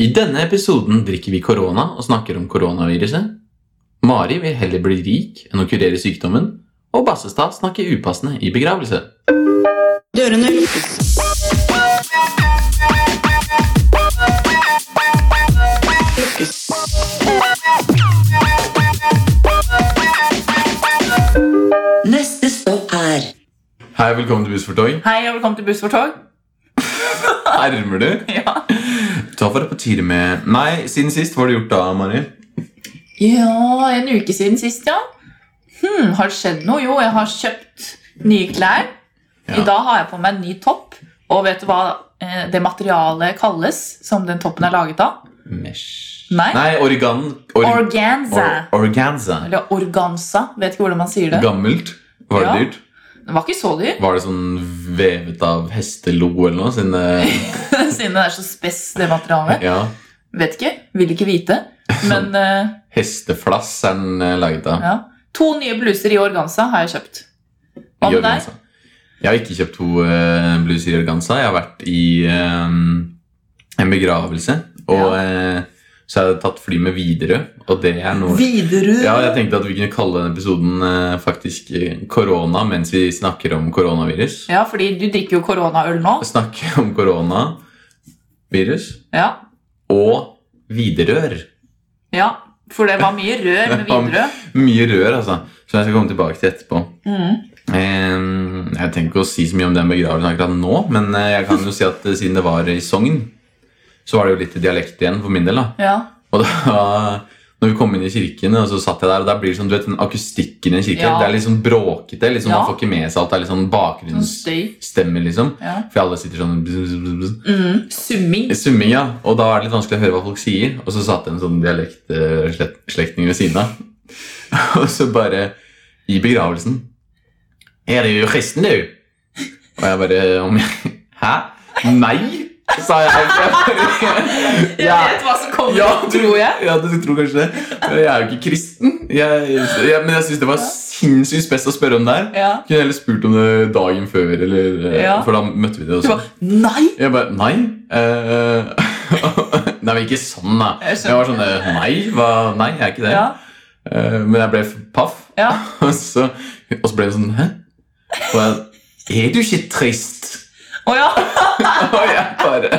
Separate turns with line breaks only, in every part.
I denne episoden drikker vi korona og snakker om koronaviruset. Mari vil heller bli rik enn å kurere sykdommen. Og Bassestad snakker upassende i begravelse.
Dørene lukkes. Lukkes. Neste stopp er
Hei, velkommen til Buss for tog.
Hei og velkommen til Buss for tog.
Hermer du?
Ja.
Ta for deg på tide med Nei, siden sist, hva har du gjort da, Mari?
ja, en uke siden sist, ja. Hmm, har det skjedd noe? Jo, jeg har kjøpt nye klær.
Ja.
I dag har jeg på meg en ny topp. Og vet du hva eh, det materialet kalles som den toppen er laget av?
Mesh
Nei.
Nei, organ... or-
Organza.
or- organza.
Eller organza. Vet ikke hvordan man sier det.
Gammelt. Var det
Ja.
dyrt?
Den var ikke så dyr,
Var det sånn vevet av hestelo eller noe? Siden det
siden det er så spess, det materialet.
Ja.
Vet ikke. Vil ikke vite. Men eh,
Hesteflass er den eh, laget av.
ja. To nye bluser i organza har jeg kjøpt.
I
Hva med deg?
organza. altså. Jeg har ikke kjøpt to eh, bluser i organza. Jeg har vært i eh, en begravelse. Og eh, så har jeg tatt fly med Widerøe, og det er noe
Widerøe.
ja, Jeg tenkte at vi kunne kalle denne episoden eh, faktisk eh, korona mens vi snakker om koronavirus.
Ja, fordi du drikker jo koronaøl nå.
Snakke om koronavirus
Ja,
og Widerøe.
ja. For det var mye rør med Widerøe.
Mye rør, altså. Som jeg skal komme tilbake til etterpå.
Mm.
Eh, Jeg tenker ikke å si så mye om den begravelsen akkurat nå, men eh, jeg kan jo si at eh, siden det var i Sogn, så var det jo litt dialekt igjen for min del. da.
Ja.
Og da, når vi kom inn i kirken, og så satt jeg der, og da blir det sånn, du vet, den akustikken i en kirke,
Ja.
det er litt sånn bråkete, liksom,
Ja.
man får ikke med seg alt, det er litt sånn
Sånn støy.
bakgrunnsstemme, liksom.
Ja.
For alle sitter sånn bzz, bzz, bzz, bzz.
Mm. Summing.
I Summing, ja. Og da er det litt vanskelig å høre hva folk sier. Og så satt det en sånn dialektslekting ved siden av. Og så bare I begravelsen Er du kristen, du? Og jeg bare om jeg, Hæ? Nei? Sa jeg. Jeg bare,
Jeg vet hva som kommer,
Ja, du-
tror jeg.
Ja, du tror kanskje det. Men jeg er jo ikke kristen. Jeg, jeg, men jeg syns det var sinnssykt spes å spørre om det her.
Ja.
Kunne heller spurt om det dagen før, eller, eh,
Ja.
for da møtte vi det
Du
også.
bare Nei!
Jeg bare Nei. eh, nei, men ikke sånn, da.
Jeg
Jeg,
skjønner.
var sånn eh, Nei, hva, nei, jeg er ikke det.
Ja.
Eh, men jeg ble f- paff.
ja.
Og så, og så ble det sånn Hæ? Og jeg Er du ikke trist?
Å ja.
Og jeg bare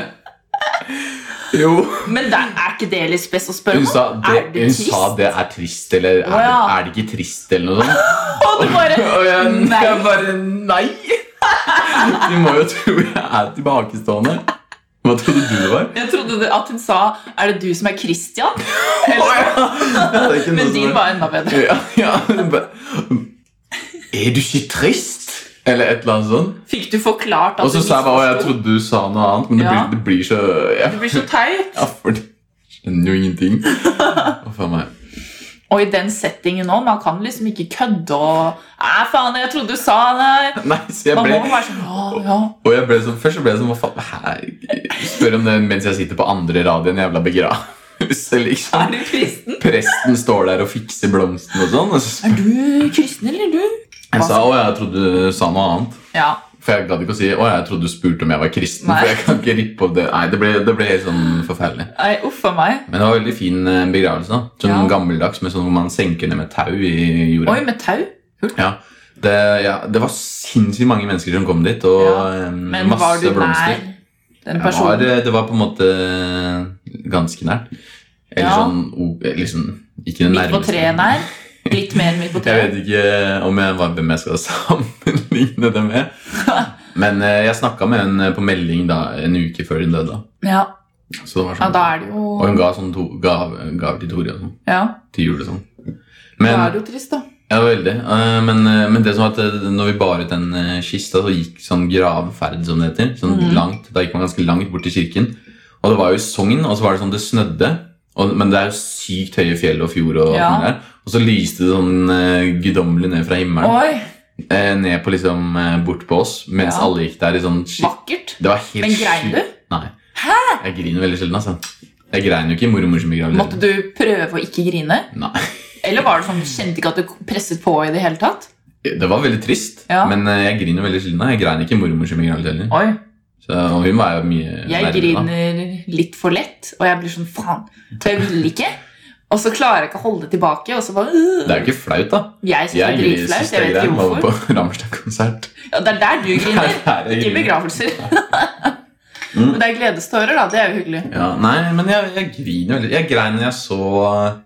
Jo.
Men det er ikke det litt spes å spørre
Hun sa
om?
det,
Er du
hun sa
trist?
det er trist, eller er,
Å, ja.
er det ikke trist, eller noe sånt.
Og du bare
Og jeg,
Nei.
jeg bare Nei! Du må jo tro jeg er tilbakestående. Hva trodde du det var?
Jeg trodde det- at hun sa 'Er det du som er Christian?' Eller,
Det er ikke noe
men
som
din
er-
var enda bedre.
ja, ja. hun bare, Er du ikke trist? Eller et eller annet sånt.
Fikk du forklart at
Og så
du
sa jeg bare «Å, jeg
misforsto?
trodde du sa noe annet, men det,
Ja.
blir, det blir så
Det
Jeg
blir så teit.
ja, for det skjønner jo ingenting. Å, faen meg.
Og i den settingen nå, man kan liksom ikke kødde og Æ, faen, jeg trodde du sa det.
Nei, så jeg
Man
ble,
må være sånn Ja, ja.
og jeg ble sånn, først så ble jeg sånn Hva faen? Her, spør om det mens jeg sitter på andre rad i en jævla begravelse,
Er
liksom.
du kristen?
Presten står der og fikser blomstene og sånn. Og så
Er du kristen, eller du?
jeg sa å, jeg trodde du sa noe annet.
Ja.
For jeg gadd ikke å si 'Å, jeg trodde du spurte om jeg var kristen'.
Nei.
For jeg kan ikke rippe opp det Nei, det ble, det ble helt sånn forferdelig.
Nei, uff a meg.
Men det var en veldig fin eh, begravelse. da Sånn
Ja.
gammeldags med sånn hvor man senker ned med tau i jorda.
Oi, med tau?
Ja. Det, ja, det var sinnssykt mange mennesker som kom dit, og
Ja,
eh,
Men
masse
var du nær
blomster.
den
Jeg var,
personen?
eh, det var på en måte eh, ganske nært. Eller
Ja.
sånn o- eh, liksom, Ikke det
Midt på
nærmeste.
treet nær? Litt mer enn midt
Jeg
på treet?
vet ikke eh, om jeg, hva- hvem jeg skal sammenligne det med. Men eh, jeg snakka med henne på melding da, en uke før hun døde. da.
Ja.
Så det var
ja,
sånn.
da er det
Og hun
jo
ga sånn to, gave, gaver til Tore og sånn.
Ja,
Til jul og sånn.
da er
Men,
det jo trist, da.
ja, veldig. Eh, Men, eh, men det som var at eh, når vi baret den eh, kista, så gikk sånn gravferd, som det heter. Sånn
Mhm.
langt, Da gikk man ganske langt bort til kirken. Og det var jo i Sogn, og så var det sånn det snødde. Og, men det er jo sykt høye fjell og fjord, og, alt
Ja.
mulig der. og så lyste det sånn eh, guddommelig ned fra himmelen.
Oi,
Eh, ned på liksom eh, bort på oss, mens
Ja.
alle gikk der i sånn skift.
vakkert.
Det var helt
Men grein
sjukt.
du?
Nei. Jeg griner veldig sjelden, altså. Jeg grein jo ikke i mormors begravelse.
Måtte du prøve å ikke grine?
Nei.
Eller var det sånn, kjente ikke at du presset på i det hele tatt?
Det var veldig trist,
Ja.
men eh, jeg griner veldig sjelden. da. Jeg grein ikke i mormors begravelse heller.
Oi,
Så, og hun var jo mye
Jeg
da.
griner litt for lett, og jeg blir sånn faen, for jeg vil ikke. Og så klarer jeg ikke å holde det tilbake. Og så bare, øh.
Det er jo ikke flaut, da.
Jeg syns det
Jeg
er
griner i
dritflaut.
siste
Jeg vet
greie
ikke
med å
hvorfor.
være på Rammstein-konsert.
Ja, det er der du griner.
Her er jeg
Ikke i
griner.
begravelser.
Mm.
Men det er gledestårer, da. Det er jo hyggelig.
Ja, nei, men jeg, jeg griner veldig. Jeg grein når jeg så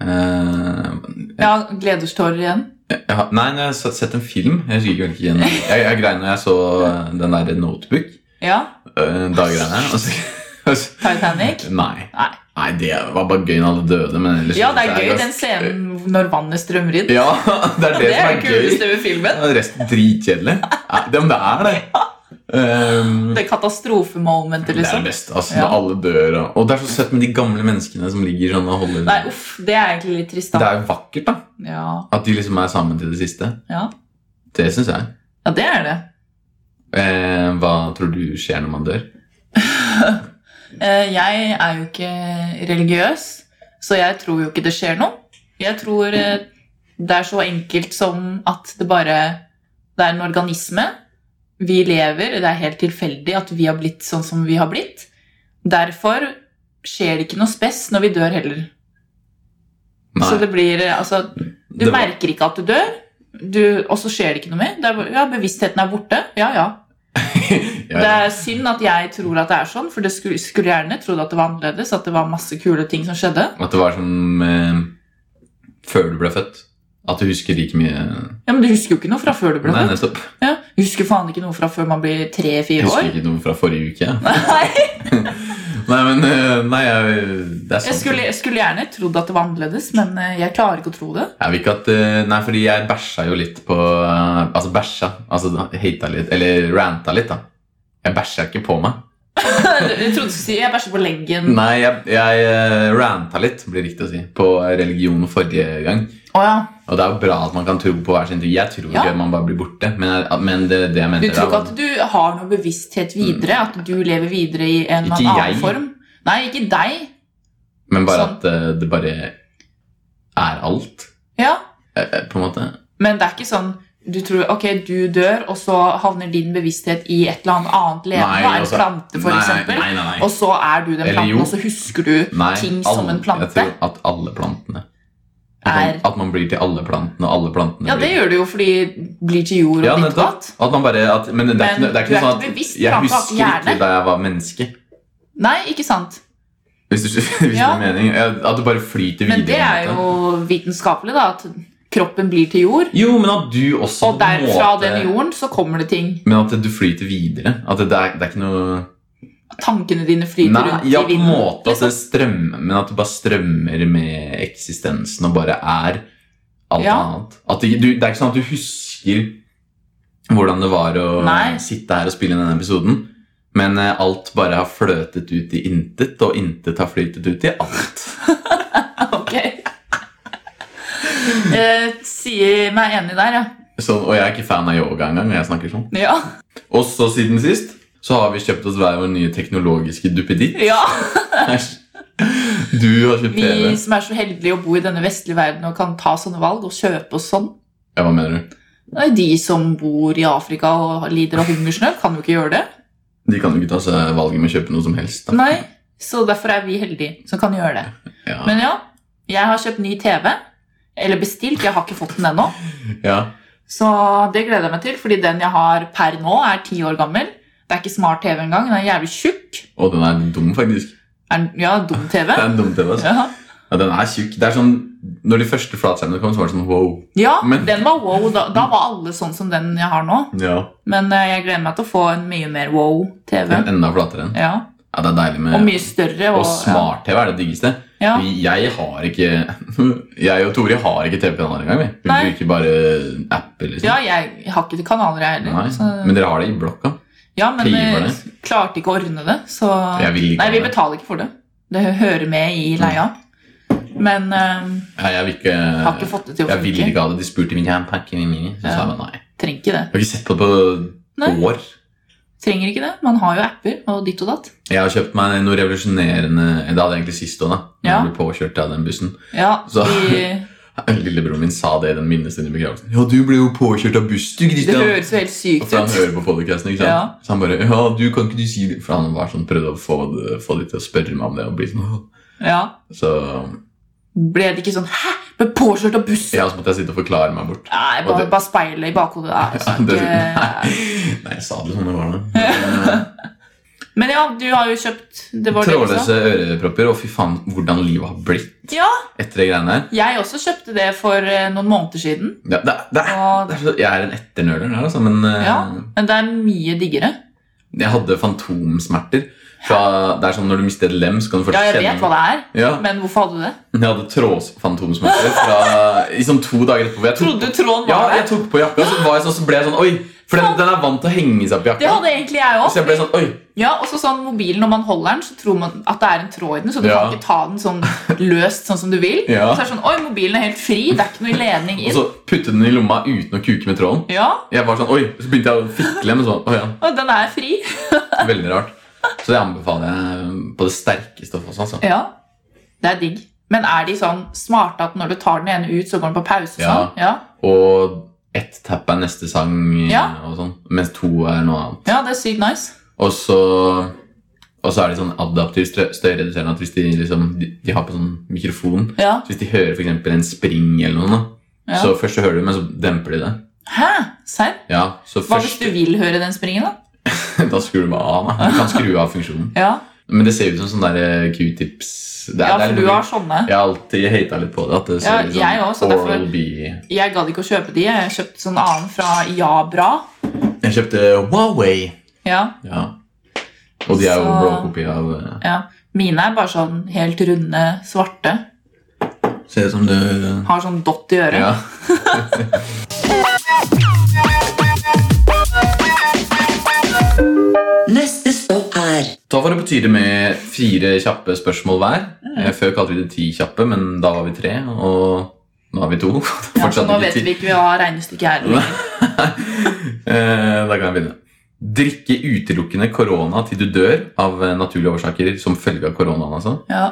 eh,
Ja, gledestårer igjen.
jeg, har- Nei, når jeg har sett, sett en film Jeg husker ikke hvilken. Jeg, jeg grein når jeg så eh, den der Notebook.
Ja.
eh, Da grein jeg. Og så, og så,
Titanic.
nei.
Nei.
Nei, det var bare gøy når alle døde, men ellers
Ja, det er
så
gøy,
bare-
den scenen når vannet strømmer inn.
Ja, det er det,
Det er det
som er gøy.
kuleste ved filmen.
Og Resten dritkjedelig. Ja, det, men det er det. Um,
Det er katastrofemomentet,
det er det
liksom.
beste. Altså,
Ja.
Når alle dør og, og det er så søtt med de gamle menneskene som ligger sånn og holder
Nei, uff. Det er egentlig litt trist,
Det
da.
er jo vakkert, da.
Ja,
At de liksom er sammen til det siste.
ja.
Det syns jeg.
ja det er det.
Eh, hva tror du skjer når man dør?
Eh, Jeg er jo ikke religiøs, så jeg tror jo ikke det skjer noe. Jeg tror eh, det er så enkelt som at det bare Det er en organisme. Vi lever. Det er helt tilfeldig at vi har blitt sånn som vi har blitt. Derfor skjer det ikke noe spess når vi dør heller.
Nei.
Så det blir eh, Altså, du
det var-
merker ikke at du dør, du, og så skjer det ikke noe mer. Det er, bare- ja, bevisstheten er borte. Ja, ja.
ja,
Det
ja.
er synd at jeg tror at det er sånn, for det skulle, skulle gjerne trodd at det var annerledes. At det var masse kule ting som skjedde.
At det var som eh, før du ble født. At du husker like mye
Ja, Men du husker jo ikke noe fra før du ble
Nei,
født.
nettopp.
Ja, du husker faen ikke noe fra før man blir
Jeg
tre-fire
husker
år.
ikke noe fra forrige uke. jeg.
Nei,
Nei, men eh, nei, jeg, det er sant.
jeg skulle, jeg skulle gjerne trodd at det var annerledes, men eh, jeg klarer ikke å tro det.
Jeg vil ikke at eh, Nei, fordi jeg bæsja jo litt på eh, Altså bæsja. Altså hata litt. Eller ranta litt, da. Jeg bæsja ikke på meg.
Jeg trodde du skulle si jeg bæsjer på leggen. Å
Nei, jeg, jeg eh, ranta litt, blir det riktig å si, på religion forrige gang.
ja.
Og det er jo bra at man kan tro på hver sin tro. Jeg tror
Ja.
ikke at man bare blir borte. Men, jeg- men det, det jeg
Du
mente
tror ikke
var-
at du har noe bevissthet videre? At du lever videre i en
Ikke
eller annen
jeg.
form? Nei, ikke deg.
Men bare
sånn.
at eh, det bare er alt,
Ja,
eh, eh, på en måte.
Men det er ikke sånn du tror, ok, du dør, og så havner din bevissthet i et eller annet annet levende, da, en
altså-
plante for
nei,
eksempel,
Nei, nei, nei.
og så er du den
Eller
planten,
jo.
og så husker du
nei
ting
alle-
som en
Jeg
plante.
tror at alle plantene at man,
Er-
at man blir til alle plantene, og alle plantene
Ja, det
blir
gjør du jo fordi blir til jord og
Ja,
ditt og
nettopp.
datt.
At man bare, at, men det er ikke, det
Men
er
du
ikke
er
sånn
ikke
at
bevisst,
jeg
plante har ikke
husker ikke
hjerne.
da jeg var menneske.
Nei, ikke sant?
Hvis du hvis det
Ja.
gir mening. Ja, At du bare flyter videre.
Men det er
på en måte.
jo vitenskapelig da, at kroppen blir til jord,
Jo, men at du også
og
på en
derfra
måte-
den jorden så kommer det ting.
Men at du flyter videre. At det, det, er, det er ikke noe
Tankene dine flyter
Nei,
rundt
ja,
i
på en
vinden.
måte altså. at
liksom.
det strømmer, men at det bare strømmer med eksistensen og bare er alt
Ja.
annet. At det, du, det er ikke sånn at du husker hvordan det var å
Nei.
sitte her og spille inn denne episoden, men eh, alt bare har fløtet ut i intet, og intet har flytet ut i alt.
Ok. Eh, sier meg enig der, ja.
Så, og jeg er ikke fan av yoga engang. når jeg snakker sånn.
Ja,
Og så siden sist så har vi kjøpt oss hver vår nye teknologiske duppeditt.
ja.
Æsj. Du har kjøpt TV.
Vi som er så heldige å bo i denne vestlige verden og kan ta sånne valg og kjøpe oss sånn.
Ja, hva mener du?
Nei, De som bor i Afrika og lider av hungersnød, kan jo ikke gjøre det.
De kan jo ikke ta seg valget med å kjøpe noe som helst. Da.
Nei, Så derfor er vi heldige som kan gjøre det.
Ja.
Men ja, jeg har kjøpt ny TV. Eller bestilt, jeg har ikke fått den ennå.
ja.
Så det gleder jeg meg til, fordi den jeg har per nå, er ti år gammel. Det er ikke smart TV engang. Den er jævlig tjukk.
Og den er dum, faktisk.
Er den- Ja, dum TV.
Det er en dum TV, altså.
Ja,
Ja, den er tjukk. Det er sånn, Når de første flatskjermene kom, så var det sånn wow.
ja
Men-
den var wow. Da, da var alle sånn som den jeg har nå.
Ja.
Men eh, jeg gleder meg til å få en mye mer wow
En
TV.
enda flatere enn.
Ja.
Ja, det er deilig med
Og mye større. Og,
Og smart-TV er det diggeste.
Ja.
Vi- Jeg har ikke Jeg og Tore har ikke TV-kanaler engang. Vi Vi
Nei.
bruker bare apper. liksom.
ja, jeg har ikke kanaler, jeg
Nei.
heller. Så,
Men dere har det i blokka.
ja, men
piver
eh, klarte ikke å ordne det, så
Jeg vil ikke
Nei,
ha
vi
det. Mm.
betaler ikke for det. Det hø- hører med i leia. Men eh,
Ja, jeg vil ikke,
har ikke fått det til å
Eh, jeg vil
funke.
ikke ha det. De spurte om jeg hadde pakket inn i, så sa jeg bare nei.
Trenger ikke det.
Jeg har ikke sett på det på
Nei,
år.
trenger ikke det. Man har jo apper og ditt og datt.
Jeg har kjøpt meg noe revolusjonerende Det hadde jeg egentlig sist òg, da. Når
Ja.
Jeg ble påkjørt av den bussen.
Ja,
Så-
vi
Lillebroren min sa det i den minnestunden i begravelsen. Ja, du ble jo påkjørt av buss, du,
Det
Christian.
høres jo helt
Og
sykt
for han
ut.
hører på podcasten, ikke sant?
Ja.
Så han bare Ja, du kan ikke du si det? For han var sånn, prøvde å få, det, få de til å spørre meg om det. Og bli sånn, «Åh».
Ja.
Så
Ble det ikke sånn 'hæ, ble påkjørt av buss'?
ja, så måtte jeg sitte og forklare meg bort.
Nei,
Og
bare,
det-
bare speilet i bakhodet. Det
Ja,
er
det,
ikke...
nei, nei, jeg sa det sånn det var da.
Men ja, du har jo kjøpt det var det også.
Trådløse ørepropper, og fy faen hvordan livet har blitt
Ja,
etter de greiene her.
jeg også kjøpte det for eh, noen måneder siden.
Ja, det, er- det, er-
Og,
det er så- jeg er en etternøler der, altså, men eh,
ja, men det er mye diggere.
jeg hadde fantomsmerter. Fra, det er sånn Når du mister et lem, så kan du først
Ja, jeg vet hva det er,
Ja,
men hvorfor hadde du det?
jeg hadde trådfantomsmerter fra i sånn to dager etterpå. for Jeg tok,
Trodde tråden
ja,
var
jeg
der?
tok på jakka, så, var jeg sånn, så ble jeg sånn Oi! For den, den er vant til å henge seg på
Det
jakka.
hadde egentlig jeg
Så jeg ble
òg.
sånn Oi!
Ja, og så sånn mobilen, når man holder den, så tror man at det er en tråd i den, så du
Ja.
kan ikke ta den sånn løst sånn som du vil.
Ja.
Og så er det sånn Oi, mobilen er helt fri. Det er ikke noe ledning
Og
inn.
så putte den i lomma uten å kuke med tråden.
Ja,
Jeg var sånn, oi, Så begynte jeg å fikle med sånn. Å ja,
og den er fri.
Veldig rart. Så det anbefaler jeg på det sterkeste også. Altså.
Ja, det er digg. Men er de sånn smarte at når du tar den ene ut, så går den på pause?
Ja.
Sånn? Ja.
Og ett tapp er neste sang,
Ja.
og sånn, mens to er noe annet.
ja, det er sykt nice.
Og så, og så er de sånn adaptivt stø- støyreduserende at hvis de, liksom, de, de har på sånn mikrofon
Ja.
så Hvis de hører for eksempel en spring, eller noe, da,
Ja.
så først så hører du, men så demper de det.
Hæ? Serr?
Ja, så
Hva hvis
først,
du vil høre den springen, da?
Da skrur du meg av. Da. Du kan skru av funksjonen.
Ja,
Men det ser ut som sånn der eh, q-tips. Det er-
ja
det er
for
litt
du
mye-
har sånne.
Jeg har alltid hata litt på det. At det ser
Ja,
ut
jeg også,
som
derfor-
Oral-B.
Jeg gadd ikke å kjøpe de. Jeg kjøpte sånn annen fra Jabra.
Jeg kjøpte Huawei.
Ja,
Ja. Og de er jo
Så-
blåkopi av eh,
ja. Mine er bare sånn helt runde, svarte.
Ser ut som det
Har sånn dott i øret.
Ja.
Neste stopp er
Da var det på tide med fire kjappe spørsmål hver. Eh, Før kalte vi det ti kjappe, men da var vi tre, og nå er vi to. Det er
Ja, så
fortsatt
nå
ikke
vet
ti.
vi ikke vi har regnestykket her.
Nei.
eller?
Eh, Da kan jeg begynne. Drikke utelukkende korona til du dør av eh, naturlige årsaker som følge av koronaen, altså.
Ja.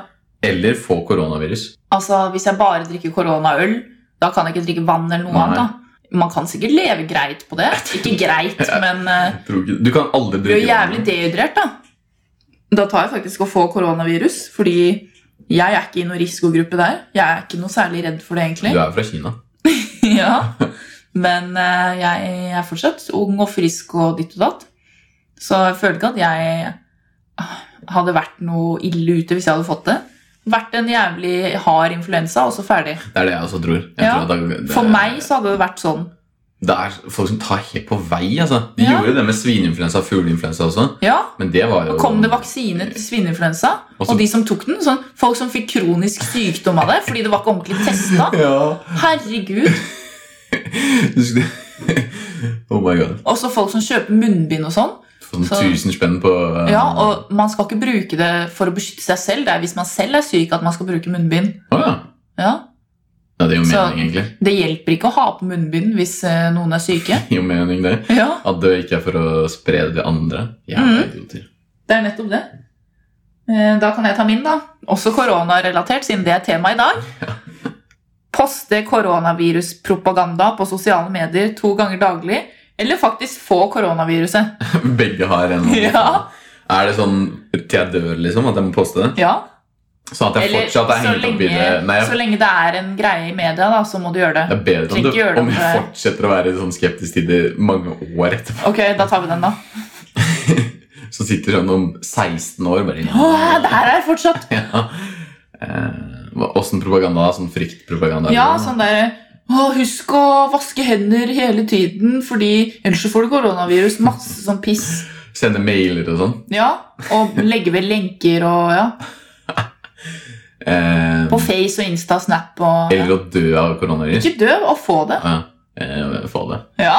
Eller få koronavirus.
Altså, Hvis jeg bare drikker koronaøl, da kan jeg ikke drikke vann eller noe
Nei.
annet. da. Man kan sikkert leve greit på det. Ikke greit, men eh,
Tror ikke- Du kan aldri
blir jo
drikke
jævlig dehydrert, da. Da tar jeg faktisk å få koronavirus, fordi jeg er ikke i noen risikogruppe der. Jeg er ikke noe særlig redd for det,
Du
egentlig.
er jo fra Kina.
ja. Men eh, jeg er fortsatt ung og frisk og ditt og datt. Så jeg føler ikke at jeg ah, hadde vært noe ille ute hvis jeg hadde fått det. Vært en jævlig hard influensa, og så ferdig.
Det er det jeg også tror. Jeg
Ja,
tror at det, det,
For meg så hadde det vært sånn.
Det er folk som tar helt på vei, altså. De
Ja.
gjorde det med svineinfluensa og fugleinfluensa også.
Ja,
Men det var jo
og kom det vaksine til svineinfluensa,
Og
og,
så-
de som tok den, sånn, folk som fikk kronisk sykdom av det fordi det var ikke ordentlig testa.
Ja.
Herregud.
Husker du? oh my god.
Og så folk som kjøper munnbind og sånn.
Sånn
Så-
1000 spenn på eh,
Ja, og man skal ikke bruke det for å beskytte seg selv. Det er hvis man selv er syk at man skal bruke munnbind.
Å, ja.
Ja.
ja, det gir jo
Så-
mening, egentlig.
Det hjelper ikke å ha på munnbind hvis eh, noen er syke.
Det gir jo mening, det.
Ja,
At det ikke er for å spre det til andre. Jævla
Mhm.
idioter.
det er nettopp det. Eh, Da kan jeg ta min, da. Også koronarelatert, siden det er tema i dag. Poste koronaviruspropaganda på sosiale medier to ganger daglig. Eller faktisk få koronaviruset.
Begge har en hånd.
Ja.
Er det sånn til jeg dør, liksom, at jeg må poste det?
Ja,
Sånn at jeg
eller så
fortsatt er hengt opp i det? Nei,
lenge,
jeg-
så lenge det er en greie i media, da, så må du gjøre
det
det.
er bedre om,
Trenger ikke gjøre
du,
det
om jeg
om det-
fortsetter å være sånn skeptisk til det mange år etterpå.
Ok, da tar vi den, da.
som sitter sånn om 16 år bare
Åh, det her er fortsatt
Ja. Eh, hva- Åssen propaganda? da? Sånn fryktpropaganda?
Ja, sånn derre Å, husk å vaske hender hele tiden, fordi ellers så får du koronavirus. Masse sånn piss.
Sende mailer og sånn?
Ja, Og legge ved lenker og ja.
Eh,
På Face og Insta, Snap og ja.
eller å dø av koronavirus?
Ikke dø, og få det.
Ja, eh, få det.
Ja,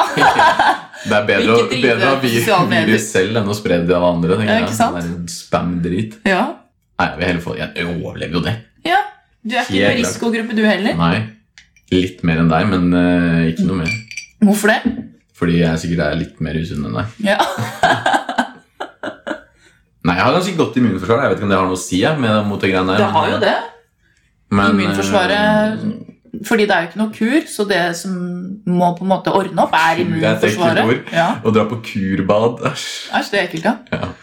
Det er bedre, å-
Ikke drive
bedre å ha vi-
sosiale medier.
virus selv enn å spre det av andre. tenker
Ja,
jeg.
ikke sant?
Sånn der Spam-drit.
ja.
Nei, jeg vil heller få Jeg overlever jo det.
ja. Du er ikke i
Helt
noen risikogruppe, du heller.
Nei. Litt mer enn deg, men eh, ikke noe mer.
Hvorfor det?
Fordi jeg sikkert er litt mer usunn enn deg.
Ja.
Nei, jeg har ganske godt immunforsvar. Jeg vet ikke om det har noe å si jeg, med, mot det greiene der.
Det
men-
har jo det.
Men,
Immunforsvaret-
eh,
Fordi det er jo ikke noe kur, så det som må på en måte ordne opp, er
Kur er et ekkelt
immunforsvaret.
ord.
Ja.
Å dra på kurbad Æsj.
Æsj, det er ekkelt, ja.
Ja.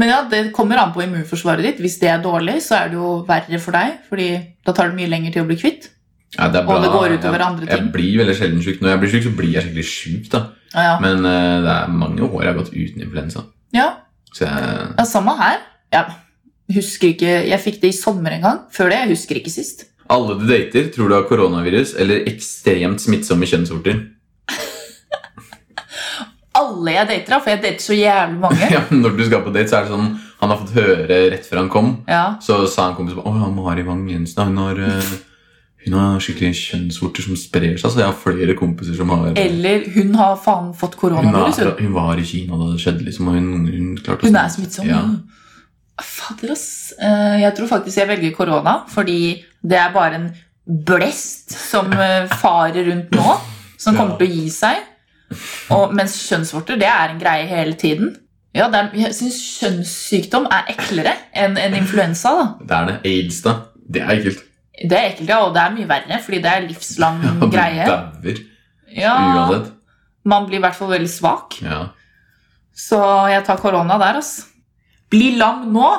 Men ja, det kommer an på immunforsvaret ditt. Hvis det er dårlig, så er det jo verre for deg, fordi da tar det mye lenger til å bli kvitt.
Ja, det er bra.
Og det går ut over
Jeg-
andre
Jeg
ting.
blir veldig sjelden syk. Når jeg blir syk, så blir jeg skikkelig syk. da.
Ja, ja.
Men eh, det er mange år jeg har gått uten influensa.
ja.
Så jeg,
ja samme her. Jeg husker ikke, jeg fikk det i sommer en gang. Før det, jeg husker ikke sist.
alle du dater, tror du har koronavirus eller ekstremt smittsomme kjønnsvorter.
Alle jeg dater, da, for jeg dater så jævlig mange.
Ja, men når du skal på date, så er det sånn Han har fått høre rett før han kom,
Ja,
så sa en kompis Å ja, Mari Wang Jensen, hun har eh, hun har skikkelig kjønnsvorter som sprer seg, så jeg har flere kompiser som har
Eller hun har faen fått
hun,
koronavirus.
har,
hun.
hun var i Kina da det skjedde, liksom, og hun, hun klarte å
sånn. Hun er smittsom.
Ja.
Fader, ass. Eh, Jeg tror faktisk jeg velger korona, fordi det er bare en blest som eh, farer rundt nå, som kommer
Ja.
til å gi seg. Og, mens kjønnsvorter, det er en greie hele tiden. Ja, det er, jeg syns kjønnssykdom er eklere enn enn influensa. da.
Det er det. Aids, da. Det er ekkelt.
Det er ekkelt, ja, og det er mye verre, fordi det er livslang
Og Du
Mm, greie.
dauer
Ja,
uansett.
Man blir i hvert fall veldig svak.
Ja.
Så jeg tar korona der, ass. Bli lam nå,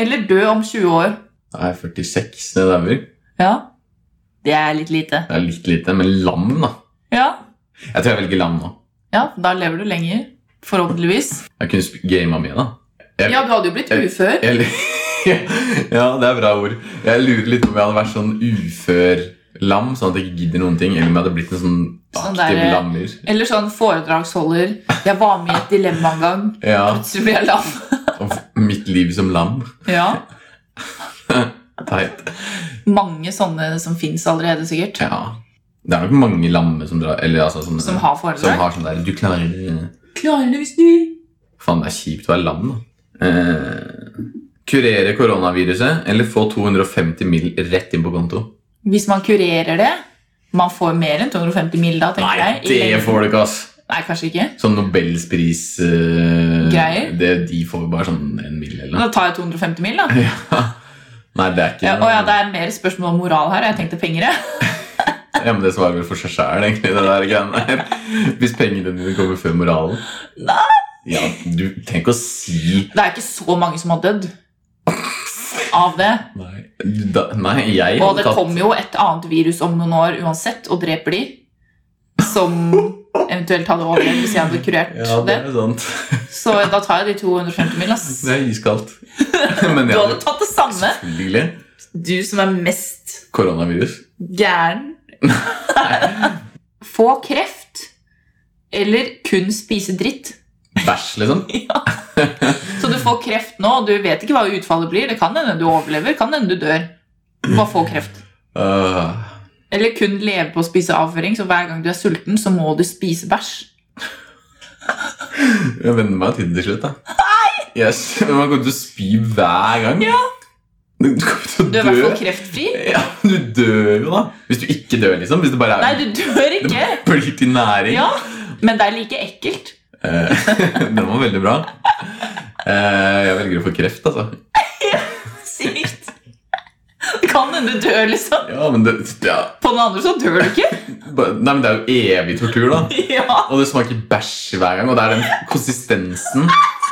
eller dø om 20 år.
Jeg er 46 når jeg dauer.
Ja. Det er litt lite.
Det er litt lite, men lam, da.
Ja,
Jeg tror jeg velger lam nå.
ja da lever du lenger. Forhåpentligvis.
Jeg kunne sp- gama mye, da. Jeg-
Ja, du hadde jo blitt ufør.
Jeg, ja, det er bra ord. Jeg lurer litt på om jeg hadde vært sånn ufør-lam, sånn at jeg ikke gidder noen ting, eller om jeg hadde blitt en sånn
Sånn
aktiv
der-
lammer.
Eller sånn foredragsholder. Jeg var med i et dilemma en gang.
Ja,
Plutselig ble jeg lam.
og f- mitt liv som lam.
Ja.
Teit.
Mange sånne som fins allerede, sikkert.
Ja. Det er nok mange lamme som drar Eller altså sånne
Som har
som
foredrag.
har sånn der Du klarer
Klarer det hvis du vil.
Faen, det er kjipt å være lam, da. Eh, kurere koronaviruset eller få 250 mil rett inn på konto?
Hvis man kurerer det Man får mer enn 250 mil da, tenker jeg. i
det
lengden.
får du ikke, ass!
Nei, kanskje ikke.
Sånn Nobelspris eh,
Greier?
Det, de får bare sånn en mil eller noe.
Da tar jeg 250 mil, da.
Ja. Nei, det er ikke
Ja, og ja, det er mer spørsmål om moral her. Jeg tenkte penger, jeg.
Ja, men det svarer vel for seg sjæl, egentlig. Det der greiene her. Hvis pengene dine kommer før moralen.
Nei.
Ja, du trenger ikke å si
Det er ikke så mange som har dødd av det.
Nei, da, nei jeg
Og det
hadde
kommer jo et annet virus om noen år uansett og dreper de. Som eventuelt hadde overlevd hvis jeg hadde kurert
Ja, det
det.
er sant.
Så da tar jeg de 250 mil, ass.
Det er iskaldt. Men
Du
jeg
hadde
hadde
tatt det samme.
selvfølgelig
Du som er mest
koronavirus.
gæren. Få kreft eller kun spise dritt.
Bæsj, liksom.
Så du får kreft nå, og du vet ikke hva utfallet blir. Det kan hende du overlever, kan hende du dør. Bare få kreft.
Øh,
Eller kun leve på å spise avføring, så hver gang du er sulten, så må du spise bæsj.
jeg venner meg til det til slutt, da. Yes. Men man kommer til å spy hver gang.
Ja.
Du kommer til å
Du er i
dø.
hvert fall kreftfri.
Ja, men du dør jo, da. Hvis du ikke dør, liksom. Hvis det bare er
Nei, du dør ikke!
det blir til næring.
Ja, Men det er like ekkelt.
Eh, den var veldig bra. Eh, jeg velger å få kreft, altså.
Sykt. Det kan hende du dør, liksom.
Ja, men det, ja.
På den andre så dør du ikke.
Bare- Nei, men det er jo evig tortur, da.
Ja.
Og det smaker bæsj hver gang, og det er den konsistensen.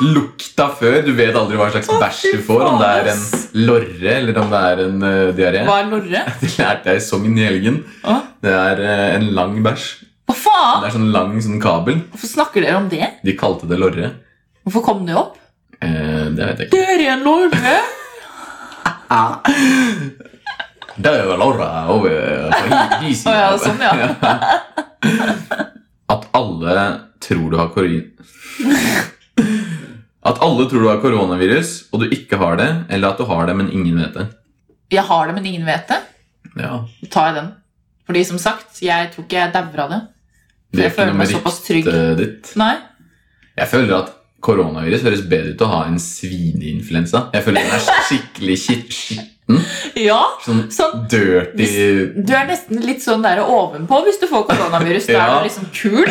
Lukta før. Du vet aldri hva slags
Å, fy
bæsj du får. Om det er en
faen, ass.
lorre eller om det er en uh, diaré.
Hva er lorre?
Det lærte jeg i Sogn i helgen.
Å,
Det er eh, en lang bæsj.
Hva faen?
Det er sånn lang sånn kabel.
Hvorfor snakker dere om det?
De kalte det lorre.
Hvorfor kom det opp?
Eh, det vet jeg ikke.
Det er en lorre! Ah.
Det var lorre over på hi-
Å
hisiden.
ja, sånn, ja.
At alle tror du har korin... At alle tror du har koronavirus, og du ikke har det, eller at du har det, men ingen vet det.
Jeg har det, men ingen vet det.
Ja,
Da tar jeg den. Fordi som sagt, jeg tror ikke jeg dauer av det.
det er
Jeg
ikke
føler
noe
meg
med
såpass trygg.
ryktet ditt.
Nei.
Jeg føler at koronavirus høres bedre ut å ha en svineinfluensa. Jeg føler den er skikkelig kit-
Ja,
Sånn
sånn
dirty
Du er nesten litt sånn der ovenpå hvis du får koronavirus. Da er
Ja.
du liksom kul.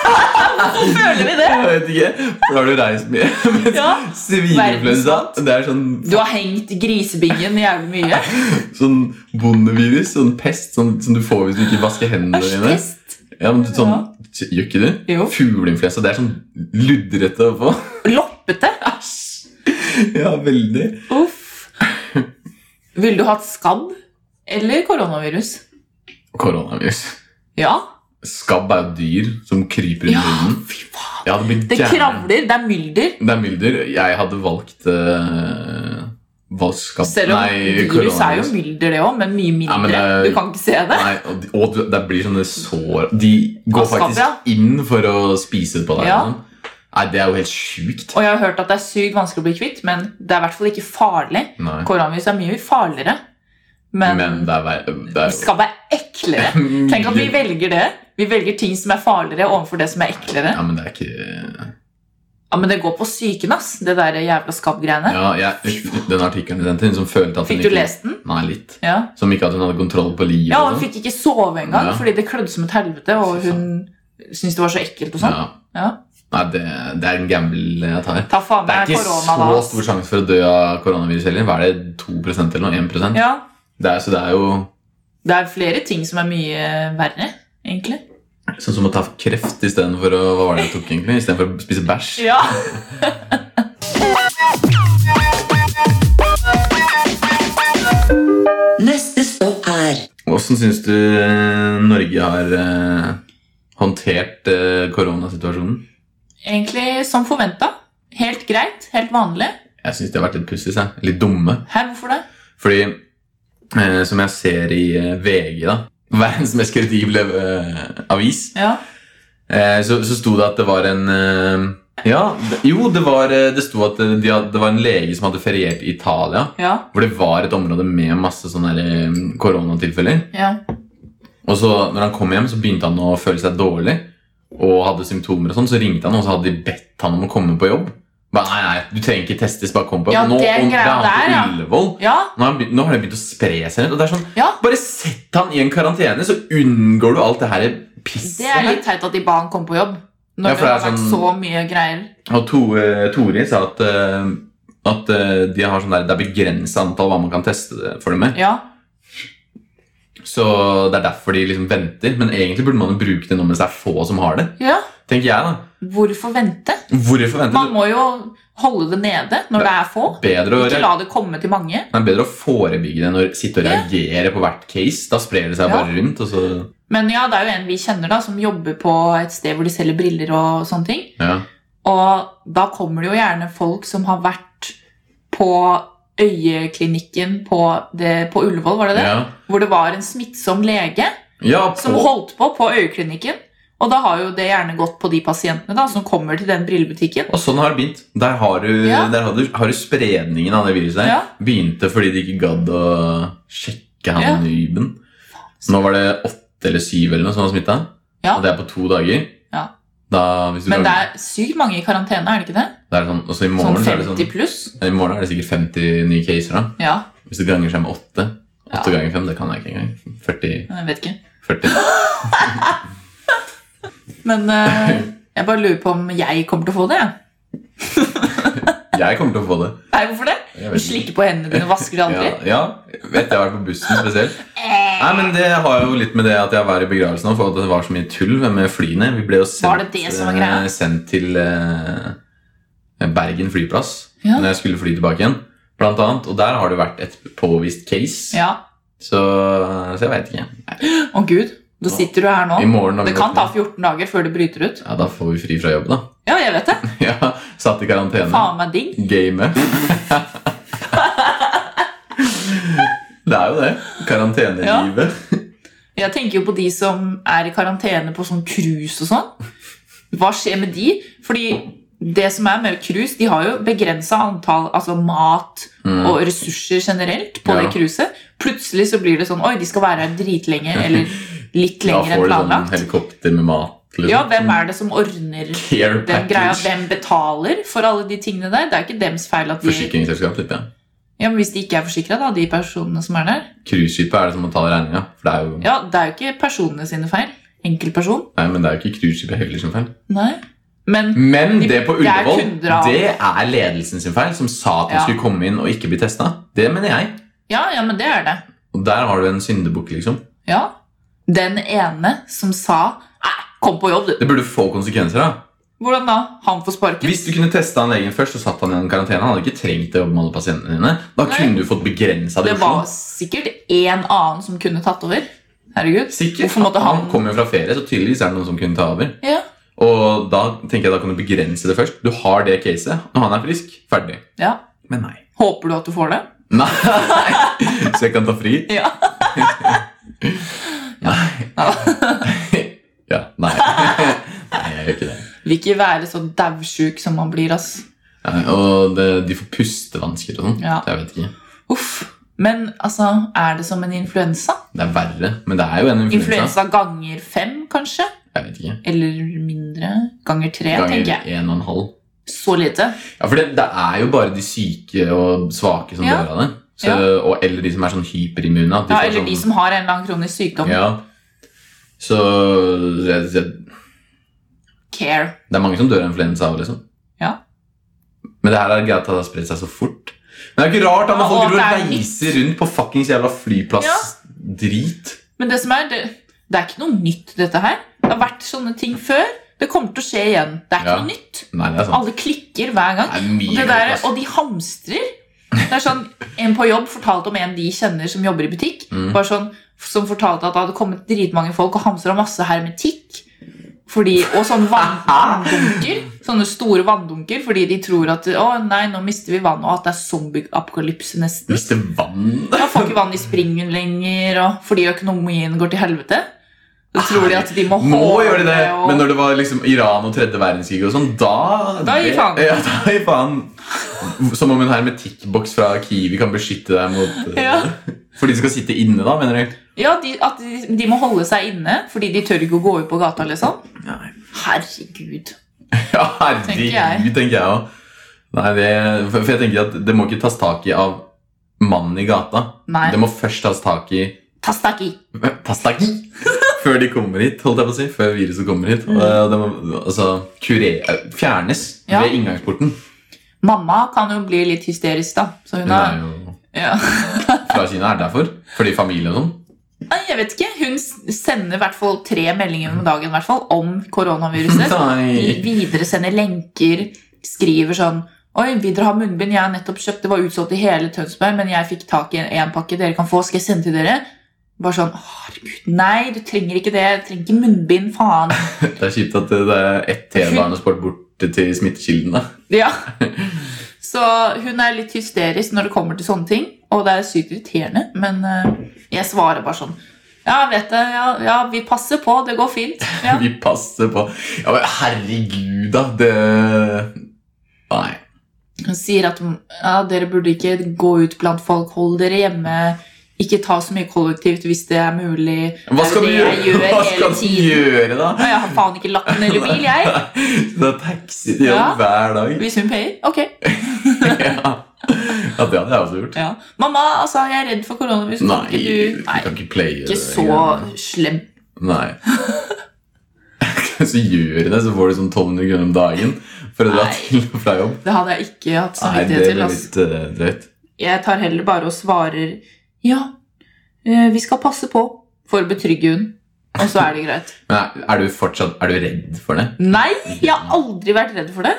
Hvorfor føler vi det?
Jeg vet ikke, for da har du reist mye. Men
Ja.
Svineinfluensa, det er sånn,
Du har hengt grisebingen jævlig mye.
sånn bondevirus, sånn pest, sånn, som du får hvis du ikke vasker hendene
Æsj,
dine.
pest.
Ja, men sånn, Gjør ikke du?
Jo.
Fugleinfluensa, det er sånn ludrete å få.
Loppete.
Ja, veldig.
Uff. Ville du hatt skabb eller koronavirus?
Koronavirus.
Ja.
Skabb er jo dyr som kryper
Ja,
under huden.
fy faen.
Jeg hadde blitt
Det
gæren.
kravler, det er mylder.
Det er mylder. Jeg hadde valgt uh, valgt skabb
Selv om
Nei,
virus er jo
koronavirus.
mylder, det òg, men mye mindre.
Ja, men det er-
Du kan ikke se det.
Nei, og, de, og du- det blir sånne sår De går
Askab,
faktisk
ja.
inn for å spise på deg.
Ja.
eller noe. Nei, det er jo helt sjukt.
Og jeg har hørt at det er sykt vanskelig å bli kvitt, men det er i hvert fall ikke farlig.
Nei.
Koronavirus er mye farligere, men,
Mm. Men det er, ver- det er
skal være eklere. Tenk at vi velger det. Vi velger ting som er farligere overfor det som er eklere.
Ja, men det er ikke
Ja, Men det går på psyken, ass, det der jævla skabb-greiene.
Ja, jeg, Den artikkelen den til hun som følte at hun
Fikk du lest den?
Nei, litt.
Ja.
Som ikke at hun hadde kontroll på livet.
ja,
og
og hun
sånn.
fikk ikke sove engang
Ja.
fordi det klødde som et helvete, og
Fy
hun syntes det var så ekkelt og sånn.
Ja.
Ja.
Nei, det, det er en gamble jeg tar.
Ta faen
Det er
meg
ikke
korona, da.
så
ass.
stor sjanse for å dø av koronavirus heller. Hva er det, 2 eller noe? 1
Ja.
det er, Så det er jo
Det er flere ting som er mye verre, egentlig.
sånn som å ta kreft istedenfor å Hva var det jeg tok, egentlig? Istedenfor å spise bæsj.
Ja.
Neste stopp er
Hvordan syns du eh, Norge har eh, håndtert eh, koronasituasjonen?
Egentlig som forventa. Helt greit. Helt vanlig.
Jeg syns de har vært litt pussige. seg. Litt dumme.
Hæ, hvorfor det?
Fordi, eh, som jeg ser i eh, VG, da verdens mest kredible eh, avis,
Ja.
eh, så, så sto det at det var en eh, ja, det, Jo, det, var, eh, det sto at eh, de hadde, det var en lege som hadde feriert i Italia.
Ja.
Hvor det var et område med masse sånne her, eh, koronatilfeller.
ja.
Og så når han kom hjem, så begynte han å føle seg dårlig. Og hadde symptomer og sånn, så ringte han, og så hadde de bedt han om å komme på jobb. Bare, nei, nei, du trenger ikke testes, bare kom på jobb.
Ja,
nå,
det er
og,
greia
han på
der, ja.
Ullevål.
Ja.
Nå har, han begynt, nå har det begynt å spre seg litt. Og det er sånn,
Ja.
Bare sett han i en karantene, så unngår du alt det her pisset.
Det er litt teit at de ba han komme på jobb. Når
Ja, for det
det har
er
vært
sånn-
så mye greier.
her. Og to, eh, Tori sa at, eh, at eh, de har sånn der, det er begrensa antall hva man kan teste det for dem med.
Ja.
Så det er derfor de liksom venter. Men egentlig burde man jo bruke det nå mens det er få som har det.
ja.
Tenker jeg da
Hvorfor vente?
Hvorfor venter
Man
du?
må jo holde det nede når det er få.
Bedre å
Ikke
reagere
la det komme til mange.
Det er bedre å forebygge det enn å sitte og
Ja.
reagere på hvert case. Da sprer det seg
Ja.
bare rundt. Og så,
Men ja, det er jo en vi kjenner da, som jobber på et sted hvor de selger briller og sånne ting.
ja.
Og da kommer det jo gjerne folk som har vært på øyeklinikken på, det, på Ullevål, var det det?
Ja.
Hvor det var en smittsom lege
Ja,
som
på,
holdt på på øyeklinikken. Og da har jo det gjerne gått på de pasientene da, som kommer til den brillebutikken.
og sånn har det begynt. Der har du,
Ja.
der har du, har du spredningen av det viruset. her.
Ja.
Begynte fordi de ikke gadd å sjekke han
Ja.
nyben. Nå var det åtte eller syv eller noe som var smitta.
Ja.
Og det er på to dager.
Ja.
Da, hvis du
Men det
drar-
er sykt mange i karantene, er det ikke det?
det er sånn, og så i morgen,
Sånn
så er det
50
sånn,
pluss.
i morgen er det sikkert 50 nye caser. da
Ja,
Hvis det ganger seg med åtte. Åtte
Ja.
ganger fem, det kan jeg ikke engang. 40,
jeg vet ikke.
40.
Men eh, jeg bare lurer på om jeg kommer til å få det. jeg.
Jeg kommer til å få det.
Nei, hvorfor det?
Jeg
Du
vet ikke.
slikker på hendene dine og vasker det aldri.
Ja, ja, vet jeg har vært på bussen spesielt. Nei, men Det har jo litt med det at jeg var i begravelsen nå, for at det var så mye tull med flyene. Vi ble jo sendt,
Var det det som var greia?
eh, sendt til eh, Bergen flyplass
Ja.
når jeg skulle fly tilbake igjen. Blant annet, og der har det vært et påvist case.
Ja.
Så, så jeg veit ikke.
Å gud, da sitter du her nå.
I morgen når vi
Det kan ta
våkner-
14 dager før det bryter ut.
Ja, Da får vi fri fra jobb, da.
Ja, jeg vet det.
Ja, Satt i karantene.
Faen meg digg.
Game. det er jo det. Karantenelivet.
Jeg tenker jo på de som er i karantene på sånn cruise og sånn. Hva skjer med de? Fordi det som er med cruise, de har jo begrensa antall altså mat
Mm.
og ressurser generelt på
Ja.
det cruiset. Plutselig så blir det sånn Oi, de skal være her dritlenge, eller litt
Da
lenger enn
får du sånn
planlagt.
helikopter med mat. liksom.
Ja, hvem er det som ordner
Care
den
package.
greia? Hvem betaler for alle de tingene der? Det er ikke dems feil at de
Forsikringsselskap, tipper jeg.
Ja, men Hvis de ikke er forsikra, da, de personene som er der
Cruiseskipet er det som må ta regninga. For det er jo,
Ja, det er jo ikke personene sine feil. Enkeltperson.
nei, men det er jo ikke cruiseskipet heller sin feil.
Nei. Men
Men
De-
det på
det er
Ullevål,
kunder av-
det er ledelsen sin feil, som sa at de
Ja.
skulle komme inn og ikke bli testa. Det mener jeg.
ja, ja, men det er det.
Og der har du en syndebukk, liksom.
Ja. Den ene som sa Nei, kom på jobb, du.
Det burde få konsekvenser, da.
Hvordan da? Han får sparken?
Hvis du kunne testa han legen først, så satt han i en karantene. Han hadde ikke trengt å jobbe med alle pasientene dine. Da
Nei.
kunne du fått begrensa det sånn. i
Det var
Oslo.
sikkert én annen som kunne tatt over. Herregud.
Sikkert.
Hvorfor måtte
Han
han-
kom jo fra ferie, så tydeligvis er det noen som kunne ta over.
Ja.
Og da tenker jeg da kan du begrense det først. Du har det caset. Når han er frisk, ferdig.
Ja.
Men nei.
Håper du at du får det?
Nei! Så jeg kan ta fri?
Ja.
Nei. Ja. Nei. Nei, jeg gjør ikke det.
Vil ikke være så daudsjuk som man blir, ass.
Nei, og det, de får pustevansker og sånn.
Ja.
Jeg vet ikke.
Uff. Men altså, er det som en influensa?
Det er verre, men det er jo en influensa.
Influensa ganger fem, kanskje?
Jeg vet ikke.
Eller mindre. Ganger tre, tenker jeg.
Ganger en og en halv.
Så lite.
Ja, for det, det er jo bare de syke og svake som
Ja.
dør av det. Så, og, eller de som er sånn hyperimmune. at
Ja,
får
eller
sånn,
de som har en eller annen kronisk sykdom.
ja. Så jeg, jeg,
Care.
det er mange som dør av influensa av, liksom.
Ja.
Men det her er greit at det har spredt seg så fort. Men det er jo ikke rart da,
Ja,
når
og
folk driver
at det
og
er
reiser rundt på fuckings jævla flyplass-drit.
Men det som er, det, det er ikke noe nytt, dette her. Det har vært sånne ting før. Det kommer til å skje igjen. Det er
Ja.
ikke noe nytt.
Nei, det er sant.
Alle klikker hver gang.
Det er mye
Og, det
rart,
der,
ass.
og de hamstrer. Det er sånn, En på jobb fortalte om en de kjenner som jobber i butikk.
Mm.
Bare sånn, Som fortalte at det hadde kommet dritmange folk og hamstra masse hermetikk. Fordi, og sånne vann- vanndunker. Sånne store vanndunker fordi de tror at å nei, nå mister vi vann, og at det er zombie-apokalypse nesten.
Hvis det er vann
Da får ikke vann i springen lenger, og fordi økonomien går til helvete. Så tror de at de må
Må gjøre det!
og-
Men når det var liksom Iran og tredje verdenskrig og sånn, da
Da gir faen.
Ja, da gir faen. Som om en hermetikkboks fra Kiwi kan beskytte deg mot eh,
Ja.
For de skal sitte inne, da, mener du?
Ja, de, at de, de må holde seg inne fordi de tør ikke å gå ut på gata, liksom. Herregud.
Ja,
Tenker jeg.
herregud, tenker jeg òg. Nei, det For for jeg tenker at det må ikke tas tak i av mannen i gata.
Nei.
Det må først tas tak i
Tastaki.
Tas tak i! Før de kommer hit, holdt jeg på å si. Før viruset kommer
Mm.
hit. Og det må altså, kurere, fjernes
Ja.
ved inngangsporten.
Mamma kan jo bli litt hysterisk, da. Så hun
Hun er
har
jo
ja.
fra Kina er det derfor? Fordi familie og sånn?
Nei, jeg vet ikke. Hun s- sender i hvert fall tre meldinger om dagen i hvert fall, om koronaviruset. Vi-
Nei.
Videresender lenker, skriver sånn Oi, vil dere ha munnbind? Jeg har nettopp kjøpt, det var utsolgt i hele Tønsberg, men jeg fikk tak i en, en pakke dere kan få. Skal jeg sende til dere? Bare sånn Herregud, nei, du trenger ikke det. Du trenger ikke munnbind, faen.
Det er kjipt at eh, det er ett T-banesport bort til smittekilden. da.
Ja. Så hun er litt hysterisk når det kommer til sånne ting, og det er sykt irriterende, men eh, jeg svarer bare sånn Ja, vet det, ja, ja, vi passer på, det går fint. Ja.
Vi passer på. Ja, men herregud, da. Det Nei.
Hun sier at ja, dere burde ikke gå ut blant folk, hold dere hjemme. Ikke ta så mye kollektivt hvis det er mulig.
Hva skal du
det er jo
gjøre,
det jeg gjør
Hva
hele
skal du
tiden.
gjøre da?
Og jeg har faen ikke lappen eller bil, jeg.
Det er taxi til jobb
Ja.
hver dag.
Hvis hun payer. Ok.
Ja. ja, det hadde jeg også gjort.
Ja. Mamma, altså, jeg er redd for koronavirus. Kan
Nei,
ikke
du
du Nei,
kan ikke playe
ikke
det
så
greiene.
slem.
Nei. så gjør du det, så får du sånn 1200 kroner om dagen for å dra
Nei.
til og fra jobb.
Det hadde jeg ikke
Nei,
hatt
det
samvittighet til.
blir
ass.
litt eh, drøyt.
Jeg tar heller bare og svarer ja, eh, vi skal passe på for å betrygge hun. Og så er det greit.
Men er, er du fortsatt er du redd for det?
Nei, jeg har aldri vært redd for det.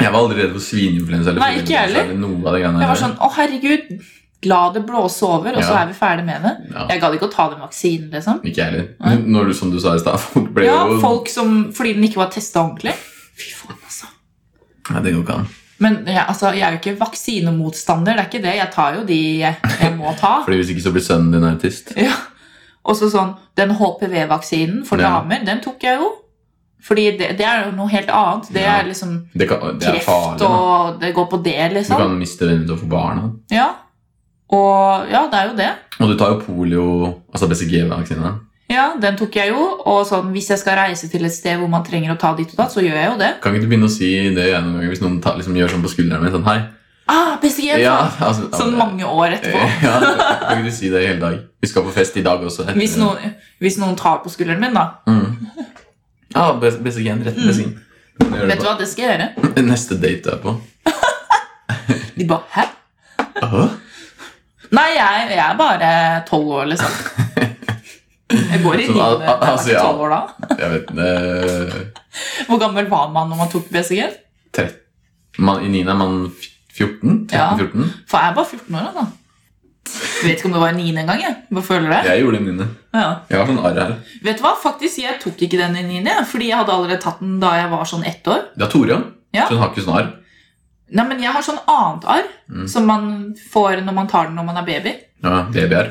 Jeg var aldri redd for svineinfluensa. eller
Nei, ikke jeg
fugleinfluensa, eller noe av det greiene
Jeg var
der.
sånn å herregud, la det blåse over, og så
Ja.
er vi ferdig med det.
Ja,
Jeg gadd ikke å ta den vaksinen, liksom.
Ikke jeg heller.
Nei.
Når du, som du sa i stad, folk ble
Ja,
jo
folk som Fordi den ikke var testa ordentlig. Fy faen, altså.
Nei, det går ikke an.
Men jeg, altså, jeg er jo ikke vaksinemotstander, det er ikke det. Jeg tar jo de jeg må ta.
Fordi Hvis ikke så blir sønnen din autist.
Ja. Og så sånn, den HPV-vaksinen for
Ja.
damer, den tok jeg jo. Fordi det, det er jo noe helt annet. Det
Ja.
er liksom
Det, kan, det er
kreft,
farlig. da.
og det går på det,
Du
liksom.
kan miste den utover barna.
Ja. Og ja, det er jo det.
Og du tar jo polio, altså BCG-vaksine.
Ja, den tok jeg jo. Og sånn, hvis jeg skal reise til et sted hvor man trenger å ta ditt og datt, så gjør jeg jo det.
Kan ikke du begynne å si det igjen noen ganger hvis noen tar, liksom, gjør sånn på skulderen min? Sånn, hei,
Ah, president!
Ja, altså,
Sånn mange år etterpå.
Ja, kan ikke du si det i hele dag? Vi skal på fest i dag også. etter-
Hvis noen, hvis noen tar på skulderen min, da.
Mm. Ja, bes- besøkjen, rett besøkjen. Kan du gjøre det
Mm. Vet du hva, det skal jeg gjøre.
på- Neste date du er på.
De bare Hæ?
Åh,
Nei, jeg, jeg er bare tolv år, liksom. Jeg går i
Sånn, al-
niende. Jeg var
altså,
ikke
ja.
tolv år da.
Jeg vet ikke.
Hvor gammel var man når man tok BCG?
Man, I niende er man f- 14?
Ja.
13-14?
For jeg var 14 år da. Jeg vet ikke om det var i niende engang. jeg. Hva føler du?
Jeg gjorde det i niende.
Ja.
Jeg har sånn arr her.
Vet du hva? Faktisk, jeg tok ikke den i niende, jeg, fordi jeg hadde allerede tatt den da jeg var sånn ett år.
Det er Tore,
Ja.
så hun har ikke sånn arr.
Nei, men jeg har sånn annet arr
Mm.
som man får når man tar den når man er baby.
Ja, babyarr.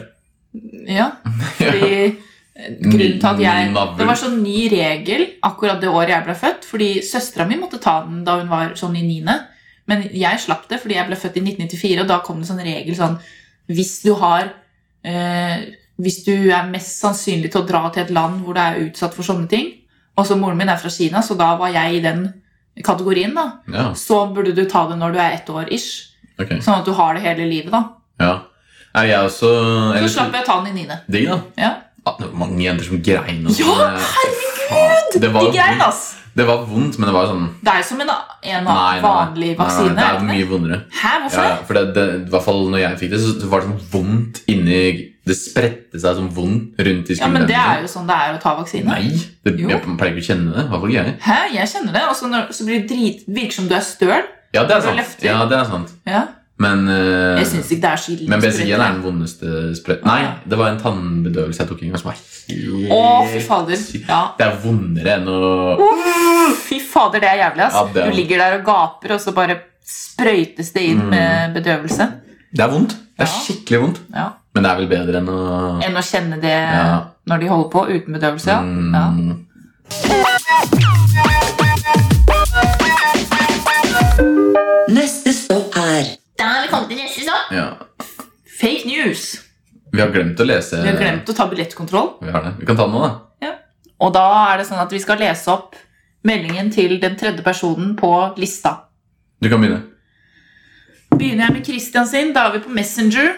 Ja, fordi eh, grunnen til at
Ny
jeg
navl.
Det var sånn ny regel akkurat det året jeg ble født, fordi søstera mi måtte ta den da hun var sånn i niende. Men jeg slapp det fordi jeg ble født i 1994, og da kom det sånn regel sånn Hvis du har eh, Hvis du er mest sannsynlig til å dra til et land hvor det er utsatt for sånne ting Og så moren min er fra Kina, så da var jeg i den kategorien, da.
Ja,
Så burde du ta det når du er ett år ish.
ok.
Sånn at du har det hele livet, da.
Ja. Nei, jeg er også
Så
eller-
slapp jeg å ta den i niende.
Digg, da.
Ja.
Ah, det var mange jenter som grein. og
Ja,
sånn, eh, faen. Det var,
De greiene,
vondt.
ass!
det var vondt, men det var sånn
Det er som en,
Nei,
en
nei,
vanlig
nei, Nei,
vaksine. er
det
det
er
ikke det?
mye vondere.
Hæ, hvorfor
Ja, ja, for det, det, I hvert fall når jeg fikk det, så var det sånn vondt inni Det spredte seg sånn vondt rundt i
det? Ja, men
skulderen.
det er jo sånn det er å ta vaksine.
Nei! Det,
Jo.
jeg pleier ikke å kjenne det. i hvert fall ikke jeg?
Hæ, jeg kjenner det. Og så når- så blir det drit, virker som du er støl.
Ja, det er
Når du
sant.
løfter.
Ja, det er sant.
Ja.
Men, eh,
Jeg syns ikke det er så ille.
men BCG-en er
sprøyter.
den vondeste sprøyten.
Ah,
Nei,
ja.
det var en tannbedøvelse jeg tok en gang som var helt
Å, fy fader. Ja.
Det er vondere enn å
Fy fader, det er jævlig, ass.
Ja, det er-
Du ligger der og gaper, og så bare sprøytes det inn
Mm.
med bedøvelse.
Det er vondt. Det er
Ja.
skikkelig vondt.
Ja.
Men det er vel bedre enn å
Enn å kjenne det
Ja.
når de holder på uten bedøvelse. Ja. ja.
Mm.
Neste stopp er
Da er vi kommet til neste sak.
ja.
Fake news.
Vi har glemt å lese.
Vi har glemt å ta billettkontroll.
Vi har det. Vi kan ta den nå, da.
Og da er det sånn at vi skal lese opp meldingen til den tredje personen på lista.
Du kan begynne.
Begynner jeg med Christian sin, da er vi på Messenger.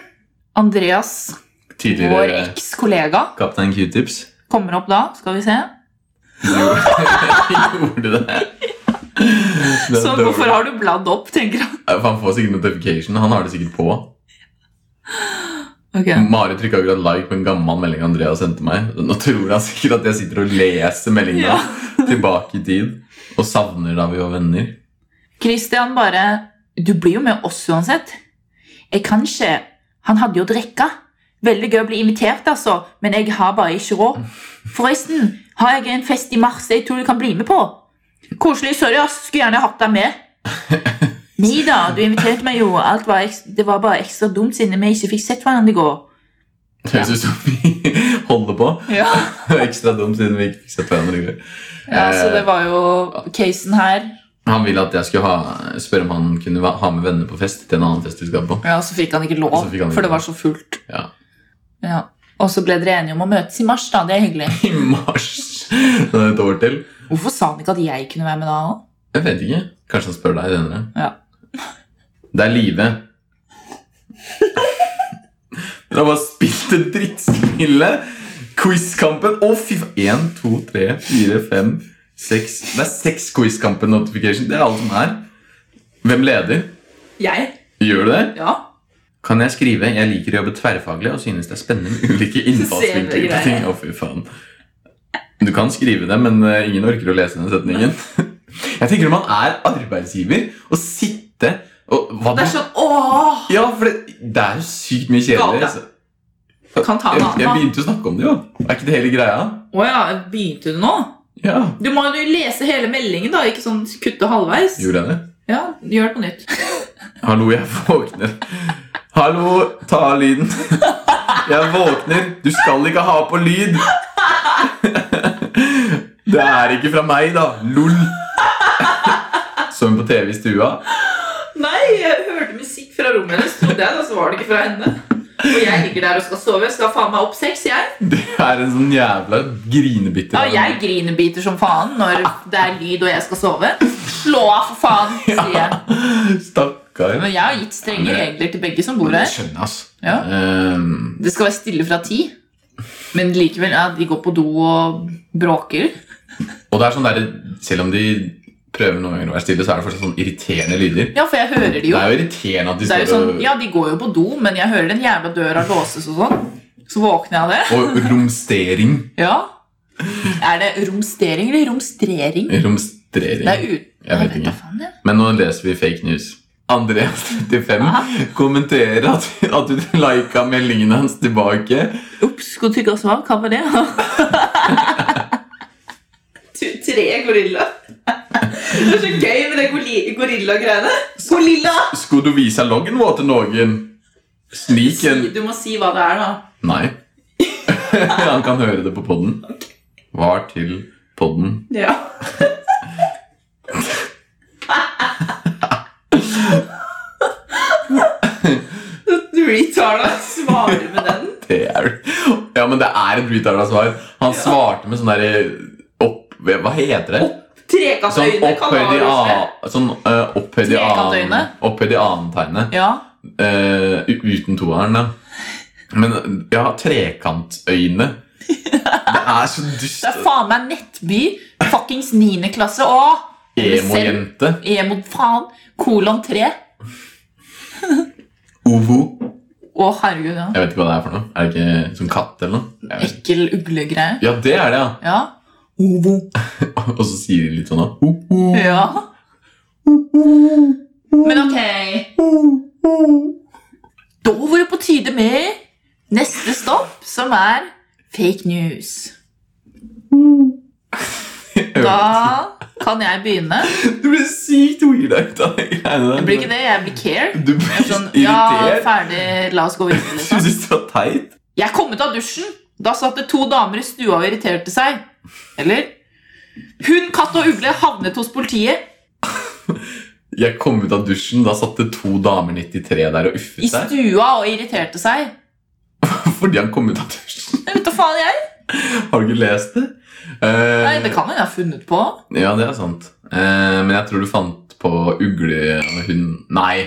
Andreas, vår
Tidligere
eks-kollega,
Kaptein Q-tips.
kommer opp da. Skal vi se.
Gjorde du det? Det er
Så
dårlig.
hvorfor har du bladd opp, tenker han.
Han får sikkert notification. Han har det sikkert på.
Ok.
Mari trykka akkurat like på en gammel melding Andrea sendte meg. Nå tror han sikkert at jeg sitter og leser meldinga
Ja.
tilbake i tid. Og savner da vi var venner.
Christian bare Du blir jo med oss uansett. Jeg kan ikke. Han hadde jo drikka. Veldig gøy å bli invitert, altså, men jeg har bare ikke råd. Forresten har jeg en fest i mars jeg tror du kan bli med på. Koselig. Sorry, ass. Skulle gjerne hatt deg med. Nei da, du inviterte meg jo. Alt var eks- det var bare ekstra dumt siden vi ikke fikk sett hverandre i går.
Det Høres ut som vi holder på.
Ja.
Ekstra dumt siden vi ikke fikk sett hverandre. i går. Eh,
så det var jo casen her.
Han ville at jeg skulle ha, spørre om han kunne va- ha med venner på fest til en annen fest vi skal på.
Ja, Så fikk han ikke lov,
Så fikk han ikke
for det
lov.
var så fullt.
Ja.
Ja. Og så ble dere enige om å møtes i mars, da. Det er hyggelig.
I mars. Det er et år til.
Hvorfor sa han ikke at jeg kunne være med da òg?
Jeg vet ikke. Kanskje han spør deg senere.
Ja.
Det er Live. Dere har bare spilt det drittspillet. Quizkampen. Å, fy faen. Én, to, tre, fire, fem, seks. Det er seks Quizkampen-notification. Det er alt som er. Hvem leder?
Jeg?
Gjør du det?
Ja.
Kan jeg skrive 'Jeg liker å jobbe tverrfaglig' og synes det er spennende med ulike innfallsvinkler på ting? Å, fy faen. Du kan skrive det, men eh, ingen orker å lese den setningen. Jeg tenker når man er arbeidsgiver, å sitte og hva
Det er
du-
sånn åh!
Ja, for det, det er jo sykt mye
Gale.
kjedeligere. altså.
Kan ta en
Jeg, jeg
annen. da.
begynte jo å snakke om det, jo. Er ikke det hele greia?
Å ja, begynte du nå?
Ja.
Du må jo lese hele meldingen, da. Ikke sånn kutte halvveis.
Gjorde jeg det?
Ja, Gjør det på nytt.
Hallo, jeg våkner. Hallo, ta av lyden. Jeg våkner. Du skal ikke ha på lyd. Det er ikke fra meg, da. Lol. Så hun på TV i stua?
Nei, jeg hørte musikk fra rommet hennes, trodde jeg, da, så var det ikke fra henne. Og jeg ligger der og skal sove. Skal faen meg opp seks, jeg.
Det er en sånn jævla grinebitter.
Ja, jeg grinebiter som faen når det er lyd og jeg skal sove. Slå av, for faen, sier jeg.
Stakkars Karin?
Men jeg har gitt strenge regler til begge som bor
Det
her.
skjønner jeg, ass.
Ja.
Ehm,
Det skal være stille fra ti. Men likevel, ja, de går på do og bråker.
og det er sånn der, selv om de prøver noen ganger å være stille, så er det fortsatt sånn irriterende lyder.
Ja, for jeg hører de
Det
jo.
er jo irriterende at de
Det er
står
jo sånn,
og,
ja, de går jo på do, men jeg hører den jævla døra låses og sånn. Så våkner jeg av det.
og romstering.
Ja. Er det romstering eller romstrering?
Romstrering.
Det er ut...
Jeg vet
da
ikke.
faen, jeg.
Men nå leser vi fake news. Andreas 35
Hæ?
kommenterer at, at du lika meldingen hans tilbake.
Ops, skulle tygge oss av. Hva var det?
t- tre gorilla. Det er så gøy med det gorilla- gorilla-greiene. Gorilla!
Skulle du vise loggen vår til noen? Slik en
Du må si hva det er, da.
Nei. Han kan høre det på podden. Var til podden.
Ja. Retard å svare med den.
Det er Ja, men det er et retarda svar. Han svarte med sånn derre opp... Hva heter det?
altså,
Sånn
Trekantøyne kan
opphøyd i
ha
a- Sånn eh, opphøyd i annen
Trekantøyne?
Opphøyd i anentegnet.
Ja.
Eh, u- uten toeren, da. Men ja, trekantøyne. Det er så dust.
Det er faen meg Nettby. Fuckings 9. klasse. Å!
Emojente.
Emo, faen. Kolon 3.
Ovo.
Å, herregud, ja.
Jeg vet ikke hva det er for noe. Er det ikke som katt eller noe? Jeg vet. ikke.
Ekkel uglegreie.
Ja, det er det, ja.
Ja.
Ovo. Og så sier de litt sånn da. Ho, ho,
ja. Men ok.
ho, ho.
Da var det på tide med neste stopp, som er fake news. Da kan jeg begynne.
Du blir sykt weirda ut av de greiene der.
Det blir ikke det, jeg blir care.
Du blir
Jeg er Sånn, ja,
irritert.
ferdig, la oss gå videre.
Du
Liksom.
synes det var teit.
Jeg kom ut av dusjen. Da satt det to damer i stua og irriterte seg. Eller? Hund, katt og ugle havnet hos politiet
Jeg kom ut av dusjen, da satt det to damer 93 der og
i
uffet seg.
stua og irriterte seg.
Fordi han kom ut av dusjen.
Jeg vet da faen jeg.
Har du ikke lest det? Eh,
Nei, det kan hende jeg har funnet på.
Ja, det er sant. Eh, men jeg tror du fant på ugle og hund Nei.